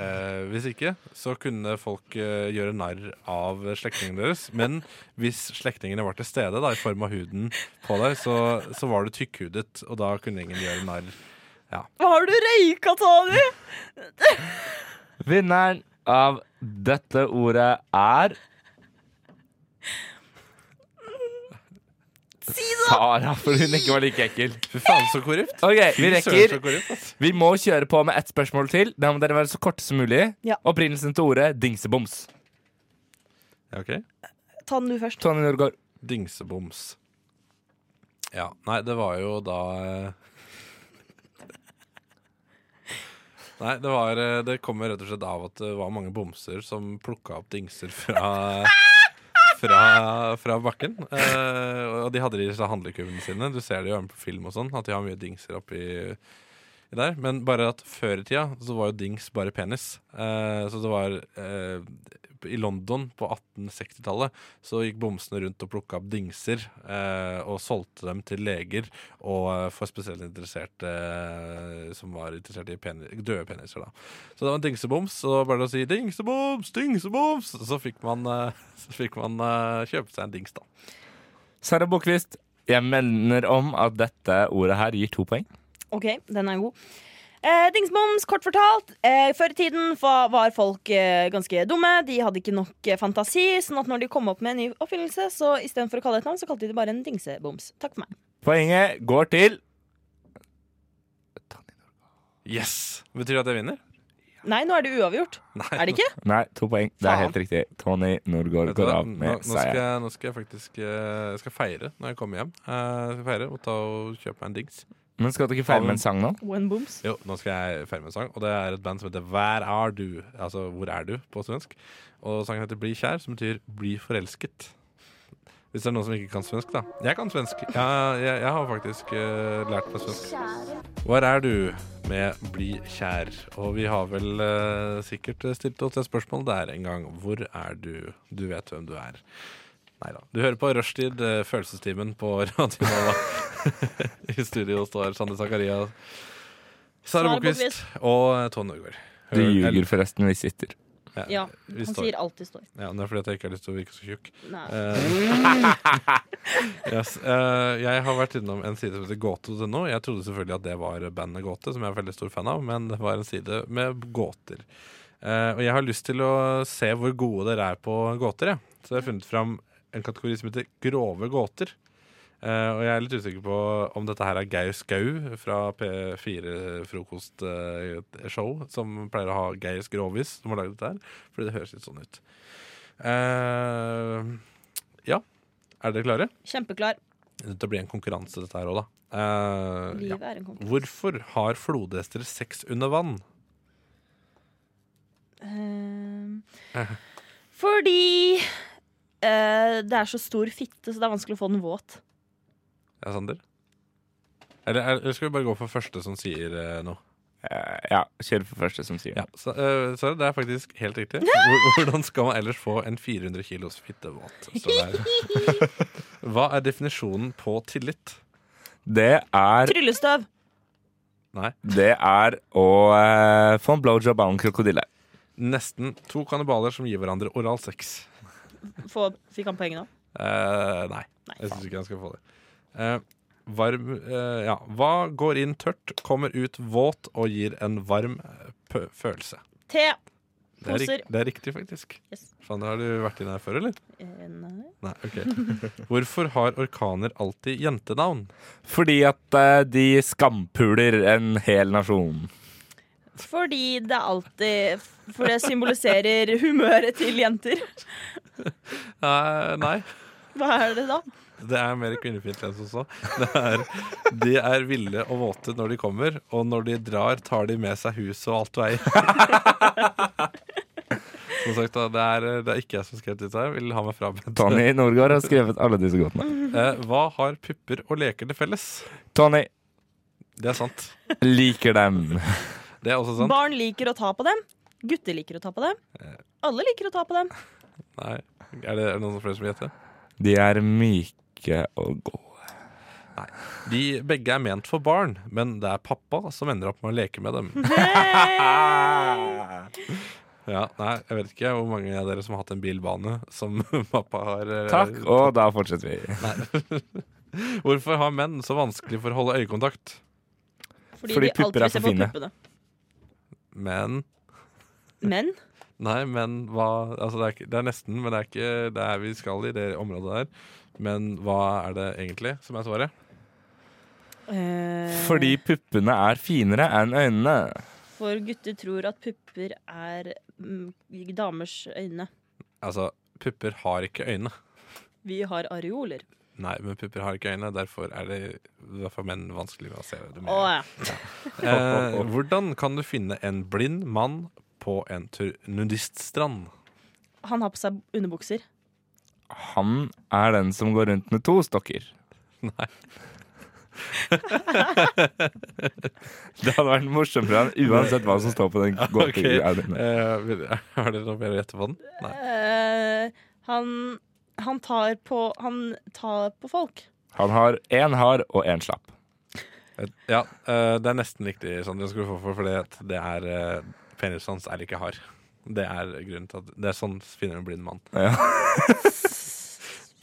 [SPEAKER 3] eh, Hvis ikke, så kunne folk eh, gjøre narr av slektningene deres. Men hvis slektningene var til stede da, i form av huden på deg, så, så var du tykkhudet, og da kunne ingen gjøre narr. Ja.
[SPEAKER 5] Har du røyka, Tony?
[SPEAKER 1] Vinneren av dette ordet er Sara, for hun ikke var like ekkel.
[SPEAKER 3] Fy faen, så korrupt.
[SPEAKER 1] Ok, Vi
[SPEAKER 3] Fy søren,
[SPEAKER 1] rekker.
[SPEAKER 3] så korrupt, ass.
[SPEAKER 1] Vi må kjøre på med ett spørsmål til. Da må dere være så korte som mulig.
[SPEAKER 5] Ja.
[SPEAKER 1] Opprinnelsen til ordet dingseboms.
[SPEAKER 3] Ja, ok.
[SPEAKER 5] Ta den du først.
[SPEAKER 1] Tony Norgård.
[SPEAKER 3] Dingseboms. Ja. Nei, det var jo da eh, [LAUGHS] Nei, det, var, eh, det kommer rett og slett av at det var mange bomser som plukka opp dingser fra, fra, fra bakken. Eh, og de hadde de i handlekuvene sine. Du ser det jo gjerne på film og sånn, at de har mye dingser oppi i der. Men bare at før i tida så var jo dings bare penis. Eh, så det var eh, I London på 1860-tallet så gikk bomsene rundt og plukka opp dingser eh, og solgte dem til leger og eh, for spesielt interesserte eh, som var interessert i peni døde peniser. da. Så det var en dingseboms, og det var bare å si 'dingseboms, dingseboms', så fikk man, eh, [LAUGHS] så fikk man eh, kjøpe seg en dings, da.
[SPEAKER 1] Sara Bokvist, jeg mener om at dette ordet her gir to poeng.
[SPEAKER 5] OK, den er god. Eh, Dingsboms, kort fortalt. Eh, før i tiden fa- var folk eh, ganske dumme. De hadde ikke nok eh, fantasi, sånn at når de kom opp med en ny oppfinnelse, så istedenfor å kalle det et navn, så kalte de det bare en dingseboms. Takk for meg.
[SPEAKER 1] Poenget går til
[SPEAKER 3] Yes! Betyr det at jeg vinner?
[SPEAKER 5] Nei, nå er det uavgjort. Er det [LAUGHS] ikke?
[SPEAKER 1] Nei, to poeng. Det er helt riktig. Tony
[SPEAKER 3] [LAUGHS]
[SPEAKER 1] Norgård
[SPEAKER 3] Vet du
[SPEAKER 1] går
[SPEAKER 3] hva?
[SPEAKER 1] av
[SPEAKER 3] Nå, nå,
[SPEAKER 1] med
[SPEAKER 3] skal
[SPEAKER 1] seier.
[SPEAKER 3] jeg, nå skal jeg faktisk eh, jeg skal feire når jeg kommer hjem. Eh, jeg skal feire Og ta og kjøpe meg en dings.
[SPEAKER 1] Men skal du ikke feire med en sang nå?
[SPEAKER 5] One booms.
[SPEAKER 3] Jo, nå skal jeg feire med en sang, og det er et band som heter Where are du? Altså Hvor er du? på svensk. Og sangen heter Bli kjær, som betyr Bli forelsket. Hvis det er noen som ikke kan svensk, da. Jeg kan svensk. Ja, jeg, jeg har faktisk eh, lært meg svensk. Hvor er du? med Bli kjær. Og vi har vel eh, sikkert stilt oss det spørsmålet der en gang. Hvor er du? Du vet hvem du er. Nei da. Du hører på Rushtid, eh, følelsestimen på Radio Nova. [LAUGHS] I studio står Sande Zakaria, Sara
[SPEAKER 5] Sara
[SPEAKER 3] Bokvist
[SPEAKER 5] Bokvist.
[SPEAKER 3] og Tone Norgård.
[SPEAKER 1] Du ljuger forresten, vi
[SPEAKER 3] Ja,
[SPEAKER 1] sitter.
[SPEAKER 5] Ja,
[SPEAKER 3] vi
[SPEAKER 5] han
[SPEAKER 3] står.
[SPEAKER 5] sier alltid står.
[SPEAKER 3] Ja, men Det er fordi at jeg ikke har lyst til å virke så tjukk.
[SPEAKER 5] Nei.
[SPEAKER 3] Eh, [LAUGHS] yes, eh, jeg har vært innom en side som heter gåte.no. Jeg trodde selvfølgelig at det var bandet Gåte, som jeg er veldig stor fan av, men det var en side med gåter. Eh, og jeg har lyst til å se hvor gode dere er på gåter, jeg. Så jeg har funnet fram en kategori som heter grove gåter. Eh, og jeg er litt usikker på om dette her er Geir Skau fra P4-frokostshow, eh, som pleier å ha Geir Grovis, som har lagd dette her. Fordi det høres litt sånn ut. Eh, ja. Er dere klare?
[SPEAKER 5] Kjempeklar.
[SPEAKER 3] Dette blir en konkurranse, dette her òg, da. Eh,
[SPEAKER 5] Livet er en konkurranse.
[SPEAKER 3] Hvorfor har flodhester sex under vann?
[SPEAKER 5] Ehm, fordi eh, det er så stor fitte, så det er vanskelig å få den våt.
[SPEAKER 3] Ja, Sander? Eller, er- eller skal vi bare gå for første som sier eh, noe?
[SPEAKER 1] ja, kjør for første som sier
[SPEAKER 3] ja, så, eh, Sorry, det er faktisk helt riktig. Hvor- Hvordan skal man ellers få en 400 kilos fittevåt? står det her. Hva er definisjonen på tillit?
[SPEAKER 1] Det er
[SPEAKER 5] Tryllestøv!
[SPEAKER 3] Nei.
[SPEAKER 1] Det er å eh, få en blowjob av en krokodille.
[SPEAKER 3] Nesten to kannibaler som gir hverandre oral sex.
[SPEAKER 5] Få, fikk han poeng nå?
[SPEAKER 3] Eh, nei. Jeg syns ikke han skal få det. Eh, varm eh, Ja. Hva går inn tørt, kommer ut våt og gir en varm eh, pø følelse?
[SPEAKER 5] Te.
[SPEAKER 3] Det er,
[SPEAKER 5] Poser.
[SPEAKER 3] rik- det er riktig, faktisk.
[SPEAKER 5] Yes.
[SPEAKER 3] Faen, har du vært inne her før, eller?
[SPEAKER 5] Eh, nei.
[SPEAKER 3] Nei, ok [LAUGHS] Hvorfor har orkaner alltid jentenavn?
[SPEAKER 1] Fordi at eh, de skampuler en hel nasjon.
[SPEAKER 5] Fordi det alltid For det symboliserer humøret til jenter.
[SPEAKER 3] Eh, nei.
[SPEAKER 5] Hva er det da?
[SPEAKER 3] Det er mer kvinnefiendtlig enn som så. Det er, de er ville og våte når de kommer, og når de drar, tar de med seg huset og alt du eier. Som sagt, da, det er, det er ikke jeg som skrev dette. her. Jeg vil ha meg frabedt.
[SPEAKER 1] Tony Norgård har skrevet alle disse gåtene.
[SPEAKER 3] Eh, hva har pupper og leker til felles?
[SPEAKER 1] Tony
[SPEAKER 3] Det er sant.
[SPEAKER 1] liker dem.
[SPEAKER 3] Det er også sant.
[SPEAKER 5] Barn liker å ta på dem. Gutter liker å ta på dem. Alle liker å ta på dem.
[SPEAKER 3] Nei. Er det, er det noen som flere som vil gjette?
[SPEAKER 1] De er myke og gode.
[SPEAKER 3] De begge er ment for barn, men det er pappa som ender opp med å leke med dem. Ja, nei, jeg vet ikke hvor mange av dere som har hatt en bilbane som [LAUGHS] pappa har eh,
[SPEAKER 1] Takk, og da fortsetter vi.
[SPEAKER 3] Nei. Hvorfor har menn så vanskelig for å holde øyekontakt?
[SPEAKER 5] Fordi, de alltid vil se på puppene.
[SPEAKER 3] Men
[SPEAKER 5] Men
[SPEAKER 3] Nei, men hva Altså, det er, ikke, det er nesten, men det er ikke der vi skal i det området der. Men hva er det egentlig som er svaret?
[SPEAKER 5] eh,
[SPEAKER 1] Fordi puppene er finere enn øynene.
[SPEAKER 5] For gutter tror at pupper er mm, damers øyne.
[SPEAKER 3] Altså, pupper har ikke øyne.
[SPEAKER 5] Vi har areoler.
[SPEAKER 3] Nei, men pupper har ikke øyne, derfor er det derfor er menn vanskelig med å se det.
[SPEAKER 5] Å ja.
[SPEAKER 3] Eh, hvordan kan du finne en blind mann på en tur nudiststrand?
[SPEAKER 5] Han har på seg underbukser.
[SPEAKER 1] Han er den som går rundt med to stokker.
[SPEAKER 3] Nei.
[SPEAKER 1] [LAUGHS] Det hadde vært morsommere enn uansett hva som står på den
[SPEAKER 3] [LAUGHS] Ok, eh,
[SPEAKER 1] gåten.
[SPEAKER 3] [LAUGHS] Har dere noe mer å gjette på den? Nei.
[SPEAKER 5] Eh, han, han tar på Han tar på folk.
[SPEAKER 1] Han har én hard og én slapp.
[SPEAKER 3] Ja, eh, det er nesten riktig, Sander. Skal du få for, for det, at det er eh, Penisen hans er ikke hard. Det er grunnen til at Det er sånn finner en blind mann.
[SPEAKER 1] Ja.
[SPEAKER 3] [LAUGHS]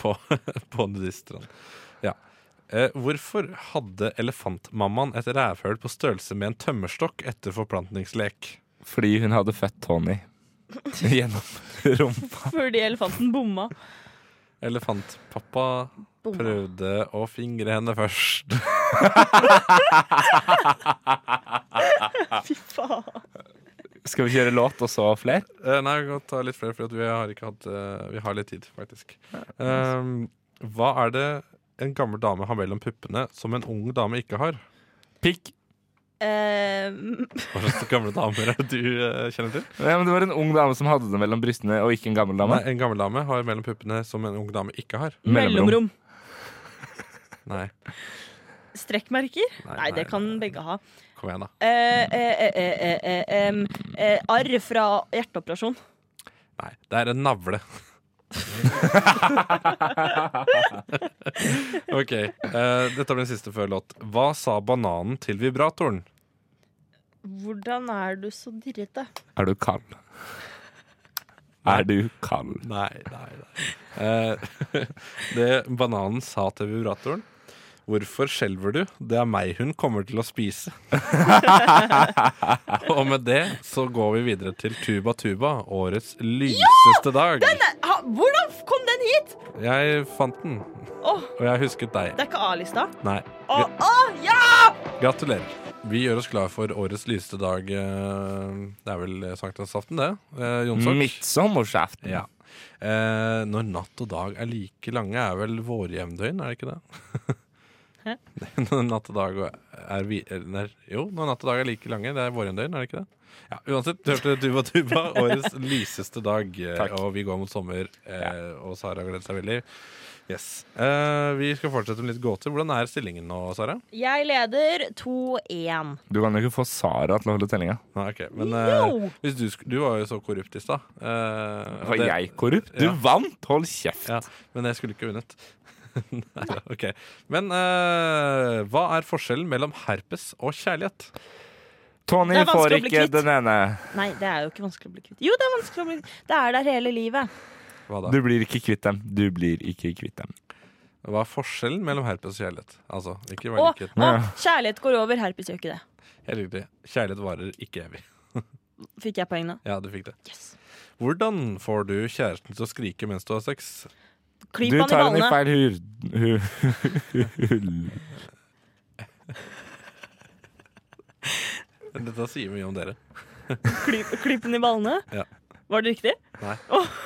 [SPEAKER 3] på på nudiststrand. Ja. Eh, hvorfor hadde elefantmammaen et rævhøl på størrelse med en tømmerstokk etter forplantningslek?
[SPEAKER 1] Fordi hun hadde født
[SPEAKER 3] [LAUGHS]
[SPEAKER 1] Tony gjennom rumpa.
[SPEAKER 5] Fordi elefanten bomma.
[SPEAKER 3] Elefantpappa
[SPEAKER 5] Bomma.
[SPEAKER 3] prøvde å fingre henne først.
[SPEAKER 5] Fy faen.
[SPEAKER 1] Skal vi kjøre låt, og så flere?
[SPEAKER 3] Eh, nei, vi kan ta litt flere, for at vi har, ikke hatt, eh, vi har litt tid, faktisk. Ehm, hva er det en gammel dame har mellom puppene som en ung dame ikke har?
[SPEAKER 1] Pikk.
[SPEAKER 5] Eh,
[SPEAKER 3] Hva slags [LAUGHS] gamle damer er det du eh, kjenner til?
[SPEAKER 1] Nei, men det var en ung dame som hadde det mellom brystene, og ikke en gammel dame.
[SPEAKER 3] Nei, en gammel dame har mellom puppene som en ung dame ikke har.
[SPEAKER 5] mellomrom.
[SPEAKER 3] Nei,
[SPEAKER 5] Strekkmerker? Nei,
[SPEAKER 3] Nei,
[SPEAKER 5] det
[SPEAKER 3] nei,
[SPEAKER 5] kan begge ha.
[SPEAKER 3] kom igjen, da.
[SPEAKER 5] Eh, eh, eh, eh, eh, em, eh, arr fra hjerteoperasjon.
[SPEAKER 3] Nei, det er en
[SPEAKER 5] [LAUGHS]
[SPEAKER 3] navle. [LAUGHS] OK. eh, dette blir den siste før låt. Hva sa bananen til vibratoren?
[SPEAKER 5] Hvordan er du så dirrete?
[SPEAKER 1] Er du kald? Er du kald?
[SPEAKER 3] Nei, nei, nei. Eh, [LAUGHS] det bananen sa til vibratoren Hvorfor skjelver du? Det er meg hun kommer til å spise. [LAUGHS] og med det så går vi videre til Tuba Tuba, årets lyseste dag.
[SPEAKER 5] Den er, ha, hvordan kom den hit?
[SPEAKER 3] Jeg fant den,
[SPEAKER 5] Åh,
[SPEAKER 3] og jeg husket deg.
[SPEAKER 5] det er ikke A-lista.
[SPEAKER 3] Nei.
[SPEAKER 5] Åh,
[SPEAKER 3] Gra-
[SPEAKER 5] åh, ja!
[SPEAKER 3] Gratulerer. Vi gjør oss klar for årets lyseste dag. eh, Det er vel sankthansaften, det? eh, Jonsok?
[SPEAKER 1] Midtsommersaften.
[SPEAKER 3] Ja. Eh, når natt og dag er like lange, er vel våre hjemdøgn, er det ikke
[SPEAKER 1] [LAUGHS]
[SPEAKER 3] [LAUGHS] det? når natt og dag er vi, eller, Jo, når natt og dag er like lange, det er våre hjemdøgn, er det ikke det? Ja, Uansett, du hørte Tuba
[SPEAKER 1] [LAUGHS]
[SPEAKER 3] Tuba, årets lyseste dag. eh,
[SPEAKER 1] Takk.
[SPEAKER 3] Og vi går mot sommer, eh, og Sara gleder seg veldig. Yes. Eh, vi skal fortsette med litt gåter. Hvordan er stillingen nå, Sara?
[SPEAKER 5] Jeg leder 2-1.
[SPEAKER 1] Du kan jo ikke få Sara til å holde tellinga.
[SPEAKER 3] Nei, ok. Men eh, hvis du, sk- du var jo så korrupt i stad. eh,
[SPEAKER 1] Var
[SPEAKER 3] det-
[SPEAKER 1] jeg korrupt? Du
[SPEAKER 3] Ja.
[SPEAKER 1] vant! Hold kjeft!
[SPEAKER 3] Ja, men jeg skulle ikke vunnet. [LAUGHS] Nei, ok. Men eh, hva er forskjellen mellom herpes og kjærlighet?
[SPEAKER 1] Tony
[SPEAKER 5] Det er
[SPEAKER 1] får
[SPEAKER 5] vanskelig å bli
[SPEAKER 1] ikke
[SPEAKER 5] kvitt.
[SPEAKER 1] den ene.
[SPEAKER 5] Nei, det er jo ikke vanskelig å bli kvitt. Jo, det er vanskelig å bli Det er der hele livet.
[SPEAKER 3] Hva da?
[SPEAKER 1] Du blir ikke kvitt dem. Du blir ikke kvitt dem.
[SPEAKER 3] Hva er forskjellen mellom herpes og kjærlighet? Altså, ikke
[SPEAKER 5] Og,
[SPEAKER 3] var likheten.
[SPEAKER 5] og kjærlighet går over, herpes gjør ikke det.
[SPEAKER 3] Helt riktig. Kjærlighet varer ikke evig.
[SPEAKER 5] Fikk jeg poeng nå?
[SPEAKER 3] Ja, du fikk det. Hvordan får du kjæresten til å skrike mens du har sex?
[SPEAKER 5] Klyp
[SPEAKER 1] Du
[SPEAKER 5] han i
[SPEAKER 1] tar den i
[SPEAKER 5] ballene.
[SPEAKER 1] feil [LAUGHS] hur...
[SPEAKER 3] Dette sier mye om dere.
[SPEAKER 5] Klyp, klyp den i ballene.
[SPEAKER 3] Ja.
[SPEAKER 5] Var det riktig?
[SPEAKER 3] Nei.
[SPEAKER 5] Åh.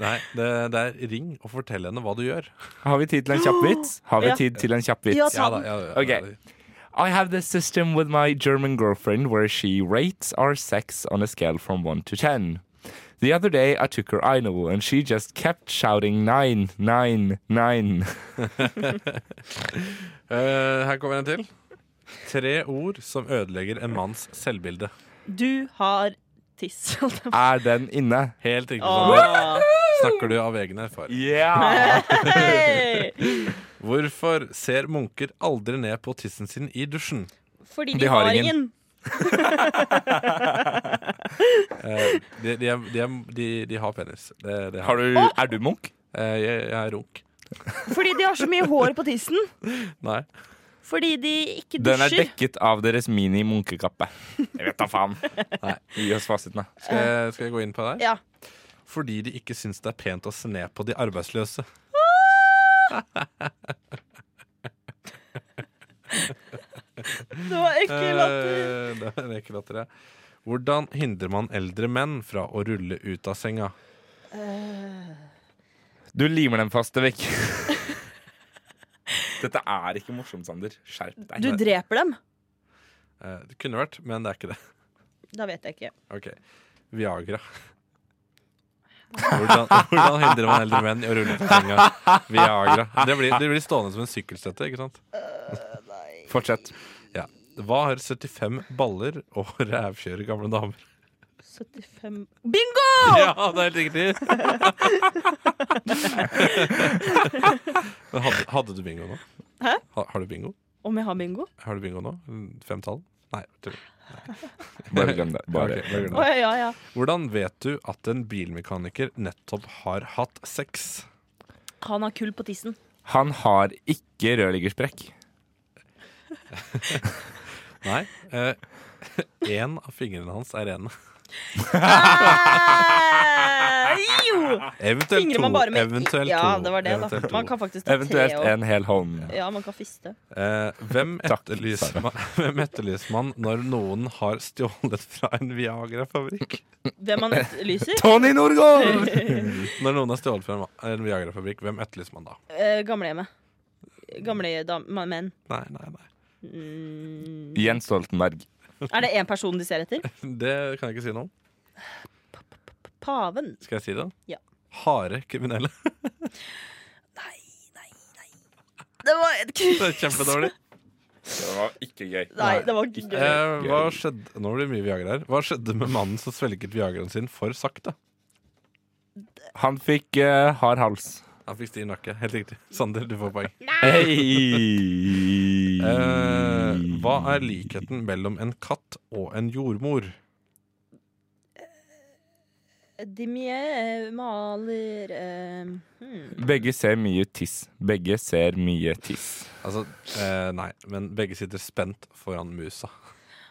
[SPEAKER 3] Nei, det, det er ring og fortell henne hva du gjør.
[SPEAKER 1] Har vi tid til en kjapp vits? Har vi
[SPEAKER 5] Ja.
[SPEAKER 1] tid til en kjapp vits?
[SPEAKER 5] Ja, ta den.
[SPEAKER 1] Ok. I have this system with my German girlfriend where she rates our sex on a scale from 1 to 10. The other day I took her idol and she just kept shouting 9, 9, 9.
[SPEAKER 3] Eh, her kommer en til. Tre ord som ødelegger en manns selvbilde.
[SPEAKER 5] Du har tiss. [LAUGHS] holdt jeg på å si.
[SPEAKER 1] Er den inne?
[SPEAKER 3] Helt riktig. Sondre.
[SPEAKER 5] Åh.
[SPEAKER 3] Snakker du av egen erfaring?
[SPEAKER 1] Yeah!
[SPEAKER 5] Hei!
[SPEAKER 3] Hvorfor ser munker aldri ned på tissen sin i dusjen?
[SPEAKER 5] Fordi de,
[SPEAKER 1] De har
[SPEAKER 5] har
[SPEAKER 1] ingen.
[SPEAKER 5] ingen.
[SPEAKER 3] Eh, de, de, er, de, er, de, de har penis. Det, det
[SPEAKER 1] Har
[SPEAKER 3] de.
[SPEAKER 1] du, er du munk?
[SPEAKER 3] Eh, jeg, jeg er runk.
[SPEAKER 5] Fordi de har så mye hår på tissen.
[SPEAKER 3] Nei.
[SPEAKER 5] Fordi de ikke
[SPEAKER 1] Den er
[SPEAKER 5] dusjer.
[SPEAKER 1] dekket av deres mini-munkekappe. Jeg vet da faen. Nei, Gi oss fasiten, da.
[SPEAKER 3] Skal jeg, skal jeg gå inn på det her?
[SPEAKER 5] Ja.
[SPEAKER 3] Fordi de ikke syns det er pent å se ned på de arbeidsløse.
[SPEAKER 5] Det var ekkel latter.
[SPEAKER 3] Eh, det er en ekkel latter, ja. Hvordan hindrer man eldre menn fra å rulle ut av senga?
[SPEAKER 1] Du limer dem fast, Vik. Dette er ikke morsomt, Sander. Skjerp deg.
[SPEAKER 5] Du dreper dem?
[SPEAKER 3] Eh, det kunne vært, men det er ikke det.
[SPEAKER 5] Da vet jeg ikke.
[SPEAKER 3] Ok, Viagra. Hvordan, hvordan hindrer man eldre menn i å rulle ut av senga? Viagra. Det blir, det blir stående som en sykkelstøtte, ikke sant?
[SPEAKER 1] Fortsett.
[SPEAKER 3] Ja. Hva har 75 baller og [LAUGHS] rævkjøre gamle damer?
[SPEAKER 5] 75 Bingo!
[SPEAKER 3] Ja, det er helt riktig! Men hadde, hadde du bingo nå?
[SPEAKER 5] Hæ?
[SPEAKER 3] Ha, har du bingo?
[SPEAKER 5] Om jeg har bingo?
[SPEAKER 3] Har du bingo nå? Fem tall? Nei. tull.
[SPEAKER 1] Bare glem det. Bare.
[SPEAKER 3] Ok, bare glem
[SPEAKER 5] Å
[SPEAKER 3] det.
[SPEAKER 5] ja, ja, ja.
[SPEAKER 3] Hvordan vet du at en bilmekaniker nettopp har hatt sex?
[SPEAKER 5] Han har kull på tissen.
[SPEAKER 1] Han har ikke rødliggersprekk.
[SPEAKER 3] Nei. [LAUGHS] Én av fingrene hans er rene.
[SPEAKER 5] Nei! Jo!
[SPEAKER 3] Eventuelt
[SPEAKER 5] Fingrer
[SPEAKER 3] to.
[SPEAKER 5] man bare med
[SPEAKER 3] Eventuelt
[SPEAKER 5] Ja,
[SPEAKER 3] to.
[SPEAKER 5] det var det, da.
[SPEAKER 3] Eventuelt to.
[SPEAKER 5] Man kan faktisk ta
[SPEAKER 1] Eventuelt
[SPEAKER 5] tre og
[SPEAKER 1] en hel hånd.
[SPEAKER 5] Ja, man kan fiste.
[SPEAKER 3] Eh, hvem,
[SPEAKER 1] Takk,
[SPEAKER 3] etterlyser
[SPEAKER 1] Sara.
[SPEAKER 3] man, [LAUGHS] hvem etterlyser man når noen har stjålet fra en Viagra-fabrikk?
[SPEAKER 5] Hvem man etterlyser?
[SPEAKER 1] Tony Norgård!
[SPEAKER 3] Når noen har stjålet fra en, en Viagra-fabrikk, hvem etterlyser man da?
[SPEAKER 5] Eh, Gamlehjemmet. Gamle dam- ma- menn.
[SPEAKER 3] Nei, nei, nei.
[SPEAKER 5] Mm.
[SPEAKER 1] Jens Stoltenberg.
[SPEAKER 5] Er det én person de ser etter?
[SPEAKER 3] Det kan jeg ikke si noe om.
[SPEAKER 5] Paven.
[SPEAKER 3] Skal jeg si det?
[SPEAKER 5] Ja.
[SPEAKER 3] Harde kriminelle. [LAUGHS]
[SPEAKER 5] Det var et
[SPEAKER 3] Det er
[SPEAKER 5] [LAUGHS]
[SPEAKER 3] kjempedårlig.
[SPEAKER 1] Det var ikke gøy.
[SPEAKER 5] Nei, det var ikke gøy.
[SPEAKER 3] Eh, hva skjedde Nå blir det mye Viagra her. Hva skjedde med mannen som svelget Viagraen sin for sakte?
[SPEAKER 1] Han fikk eh, hard hals.
[SPEAKER 3] Han fikk stiv nakke. Helt riktig. Sander, du får poeng.
[SPEAKER 1] Hei!
[SPEAKER 3] Eh, hva
[SPEAKER 1] Mm.
[SPEAKER 3] er likheten mellom en katt og en jordmor?
[SPEAKER 5] Dimie maler eh, hmm.
[SPEAKER 1] Begge ser mye tiss. Begge ser mye tiss.
[SPEAKER 3] Altså, eh, nei, men begge sitter spent foran musa.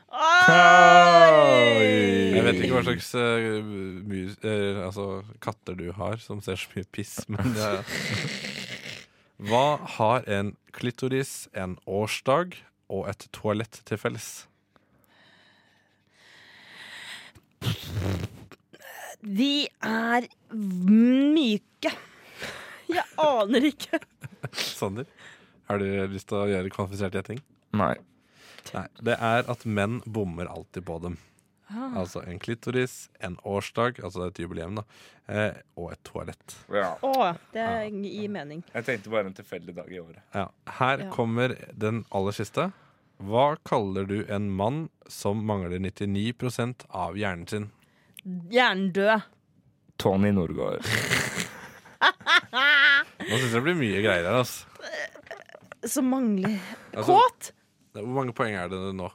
[SPEAKER 3] Jeg vet ikke hva slags eh, mus, eh, altså, katter du har som ser så mye piss, men det er Hva har en klitoris, en årsdag og et toalett til felles?
[SPEAKER 5] De er myke. Jeg aner ikke.
[SPEAKER 3] Sander, har du lyst til å gjøre kvalifisert gjetting?
[SPEAKER 1] Nei.
[SPEAKER 3] Nei. Det er at menn bommer alltid på dem.
[SPEAKER 5] Ah.
[SPEAKER 3] Altså en klitoris, en årsdag, altså et jubileum, da, eh, og et toalett.
[SPEAKER 5] Å, det
[SPEAKER 3] Ah.
[SPEAKER 5] gir mening.
[SPEAKER 1] Jeg tenkte bare en tilfeldig dag i året.
[SPEAKER 3] Ja. Her
[SPEAKER 5] Ja.
[SPEAKER 3] kommer den aller siste. Hva kaller du en mann som mangler 99 av hjernen sin?
[SPEAKER 5] Hjernedød.
[SPEAKER 1] Tony Norgård.
[SPEAKER 3] Nå syns jeg det blir mye greier her. Altså.
[SPEAKER 5] Som mangler
[SPEAKER 3] Altså,
[SPEAKER 5] Kåt!
[SPEAKER 3] Hvor mange poeng er det nå?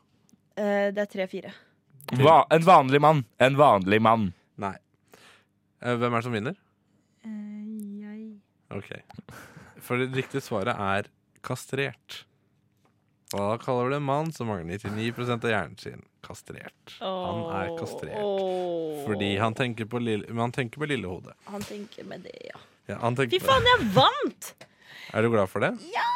[SPEAKER 5] Eh, det er tre-fire.
[SPEAKER 1] Va en vanlig mann. En vanlig mann.
[SPEAKER 3] Nei. Eh, Hvem er det som vinner?
[SPEAKER 5] Eh,
[SPEAKER 3] Ok. For det riktige svaret er kastrert. Hva kaller du en mann som mangler 99 av hjernen sin? Kastrert. Han er kastrert. Fordi han tenker på lille, men han tenker på lillehodet.
[SPEAKER 5] Han tenker med det, ja.
[SPEAKER 3] Ja, han tenker
[SPEAKER 5] Fy
[SPEAKER 3] på-
[SPEAKER 5] faen, jeg vant!
[SPEAKER 3] Er du glad for det? Ja!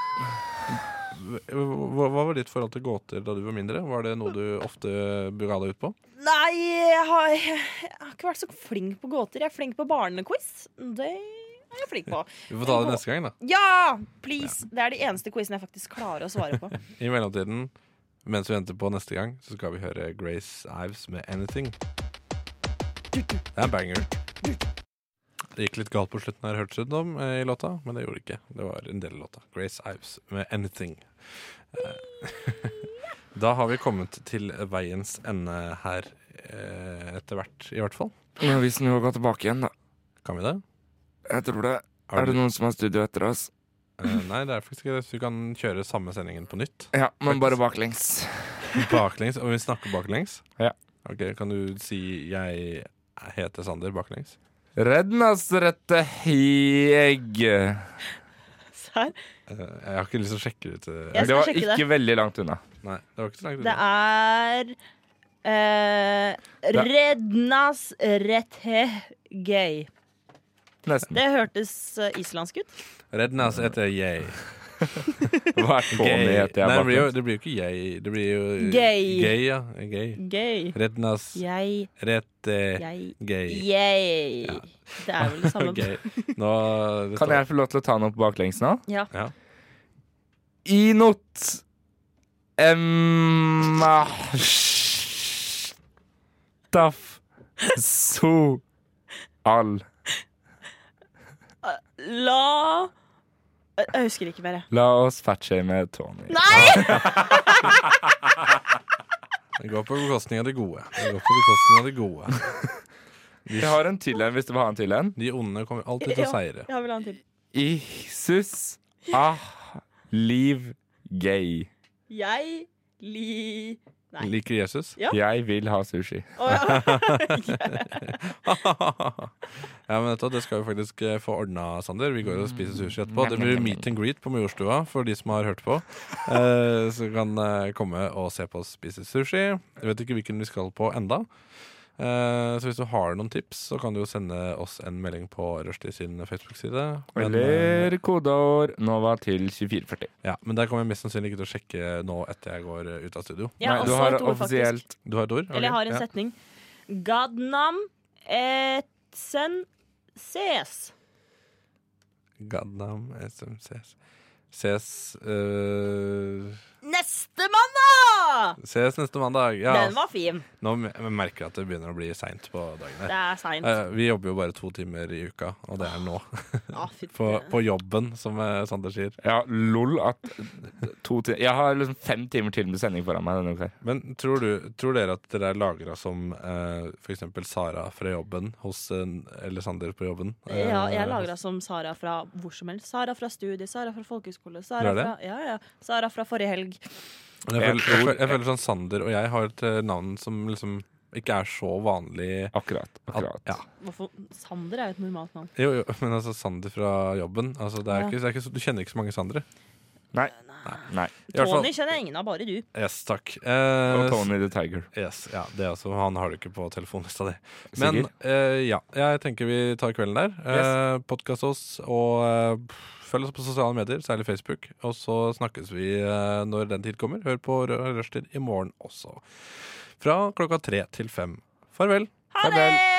[SPEAKER 3] Hva, hva var ditt forhold til gåter da du var mindre? Var det noe du ofte ga deg ut på?
[SPEAKER 5] Nei, jeg har, jeg har ikke vært så flink på gåter. Jeg er flink på barnequiz. Det er jeg flink på.
[SPEAKER 3] [LAUGHS] Vi får ta det neste gang, da.
[SPEAKER 5] Ja! Please! Det er de eneste quizene jeg faktisk klarer å svare
[SPEAKER 3] [LAUGHS]
[SPEAKER 5] på.
[SPEAKER 3] I mellomtiden, mens vi venter på neste gang, så skal vi høre Grace Ives med 'Anything'. Det er en banger. Det gikk litt galt på slutten her, hørtes det ut som, eh, i låta, men det gjorde det ikke. Det var en del av låta. Grace Ives med 'Anything'. Eh, [LAUGHS] Da har vi kommet til veiens ende her eh, etter hvert, i hvert fall.
[SPEAKER 1] Men hvis vi går tilbake igjen, da.
[SPEAKER 3] Kan vi det?
[SPEAKER 1] Jeg tror det.
[SPEAKER 3] Har
[SPEAKER 1] Er det
[SPEAKER 3] du-
[SPEAKER 1] noen som har studio etter oss?
[SPEAKER 3] Eh, Nei, det er faktisk ikke det. Så vi kan kjøre samme sendingen på nytt.
[SPEAKER 1] Ja, men bare baklengs.
[SPEAKER 3] Baklengs, og vi snakker baklengs?
[SPEAKER 1] Ja.
[SPEAKER 3] Ok, Kan du si 'jeg heter Sander' baklengs?
[SPEAKER 1] Rednasrette heg.
[SPEAKER 5] Serr?
[SPEAKER 3] Eh, Jeg har ikke lyst til å sjekke ut eh,
[SPEAKER 5] Jeg skal
[SPEAKER 1] Det var
[SPEAKER 5] sjekke
[SPEAKER 1] ikke
[SPEAKER 5] det.
[SPEAKER 1] veldig langt unna.
[SPEAKER 3] Nei, det var ikke så langt
[SPEAKER 5] Det
[SPEAKER 3] unna.
[SPEAKER 5] er eh, Rednas rette gay.
[SPEAKER 1] Nesten.
[SPEAKER 5] Det hørtes eh, islandsk ut.
[SPEAKER 3] Rednas heter jeg.
[SPEAKER 1] Hva er Tony
[SPEAKER 3] Gay. Nei,
[SPEAKER 1] heter jeg
[SPEAKER 3] det blir, jo,
[SPEAKER 1] baklengs?
[SPEAKER 3] det blir jo ikke jeg. Det blir jo eh,
[SPEAKER 5] Gay.
[SPEAKER 3] Gay, ja. Gay.
[SPEAKER 5] Gay.
[SPEAKER 3] Rednas
[SPEAKER 5] Jeg,
[SPEAKER 3] rette
[SPEAKER 5] jeg,
[SPEAKER 3] gay.
[SPEAKER 5] jeg. Det er vel det
[SPEAKER 3] [LAUGHS]
[SPEAKER 5] samme.
[SPEAKER 3] Ok, Nå
[SPEAKER 1] [LAUGHS]
[SPEAKER 3] det
[SPEAKER 1] Kan
[SPEAKER 3] står-
[SPEAKER 1] jeg få lov til å ta den opp baklengs nå?
[SPEAKER 5] Ja.
[SPEAKER 3] sånn. Ja.
[SPEAKER 1] Inot Emma Staff So Al
[SPEAKER 5] La Jeg husker ikke mer, jeg.
[SPEAKER 1] La oss fatshame Tony.
[SPEAKER 5] Nei!
[SPEAKER 3] Det går på bekostning av det gode. Det går på bekostning av det gode.
[SPEAKER 1] Vi har en til en hvis du vil ha en til en.
[SPEAKER 3] De onde kommer alltid til å seire.
[SPEAKER 5] Ja, jeg vil ha en til.
[SPEAKER 1] Isus ah liv gay.
[SPEAKER 5] Jeg li... Nei.
[SPEAKER 3] Liker Jesus?
[SPEAKER 5] Ja.
[SPEAKER 1] Jeg vil ha sushi.
[SPEAKER 5] Å,
[SPEAKER 3] [LAUGHS]
[SPEAKER 5] ja.
[SPEAKER 3] ja, men dette, det skal vi faktisk eh, få ordna, Sander. Vi går og spiser sushi etterpå.
[SPEAKER 5] Mm.
[SPEAKER 3] Det blir meet and greet på Majorstua for de som har hørt på. Eh, så kan eh, komme og se på oss spise sushi. Jeg vet ikke hvilken vi skal på enda. Eh, så hvis du har noen tips, så kan du jo sende oss en melding på Rushdie sin Facebook-side. Men, eh,
[SPEAKER 1] Eller kodeord Nova til 2440.
[SPEAKER 3] ja, men der kommer jeg mest sannsynlig ikke til å sjekke nå etter jeg går eh, ut av studio.
[SPEAKER 5] Jeg har
[SPEAKER 1] Nei, du
[SPEAKER 5] også
[SPEAKER 1] har
[SPEAKER 5] et ord, faktisk.
[SPEAKER 1] offisielt
[SPEAKER 3] Du har et ord?
[SPEAKER 5] Eller jeg
[SPEAKER 3] Ok,
[SPEAKER 5] har en
[SPEAKER 3] ja.
[SPEAKER 5] setning. Gadnam etsen ses.
[SPEAKER 3] Goddamn SMCS. eh, Ses eh,
[SPEAKER 5] Neste mandag!
[SPEAKER 3] Ses neste mandag. Ja,
[SPEAKER 5] Den var fin.
[SPEAKER 3] Nå me- jeg merker jeg at det begynner å bli seint på dagen.
[SPEAKER 5] Det
[SPEAKER 3] her
[SPEAKER 5] er seint.
[SPEAKER 3] Eh, Vi jobber jo bare to timer i uka, og det er nå.
[SPEAKER 5] Ah, fy-
[SPEAKER 3] På, på jobben, som eh, Sander sier.
[SPEAKER 1] Ja, lol at [LAUGHS] to ti- Jeg har liksom fem timer til med sending foran meg denne uka. her.
[SPEAKER 3] Men tror, du, tror dere at dere er lagra som eh, for eksempel Sara fra jobben hos eh, Eller Sander på jobben? eh,
[SPEAKER 5] Ja, jeg er lagra
[SPEAKER 3] hos-
[SPEAKER 5] som Sara fra hvor som helst. Sara fra studiet, Sara fra folkehøyskole,
[SPEAKER 3] Du
[SPEAKER 5] Sara
[SPEAKER 3] er det?
[SPEAKER 5] fra, ja, ja. Sara fra forrige helg.
[SPEAKER 3] Men Jeg
[SPEAKER 1] Jeg
[SPEAKER 3] føler, jeg,
[SPEAKER 1] tror-
[SPEAKER 3] føler, jeg føler sånn Sander og jeg har et eh, navn som liksom ikke er så vanlig.
[SPEAKER 1] Akkurat.
[SPEAKER 3] At, ja.
[SPEAKER 5] Hvorfor? Sander er jo et normalt navn.
[SPEAKER 3] Jo, jo, men altså Sander fra jobben altså, det er
[SPEAKER 5] Ja.
[SPEAKER 3] ikke, det er ikke, så- Du kjenner ikke så mange Sandre?
[SPEAKER 1] Nei.
[SPEAKER 3] I hvert fall-
[SPEAKER 5] Tony kjenner jeg ingen av, bare du.
[SPEAKER 3] Yes, takk.
[SPEAKER 1] Og Tony the Tiger.
[SPEAKER 3] Yes, ja, det er altså, Han har du ikke på telefonlista di.
[SPEAKER 1] Sikker?
[SPEAKER 3] Men eh, ja, jeg tenker vi tar kvelden der. Uh, Podkast oss, og eh, følg oss på sosiale medier, særlig Facebook. Og så snakkes vi eh, når den tid kommer. Hør på Rø- Rushtid i morgen også. Fra klokka tre til fem. Farvel.
[SPEAKER 5] Ha det!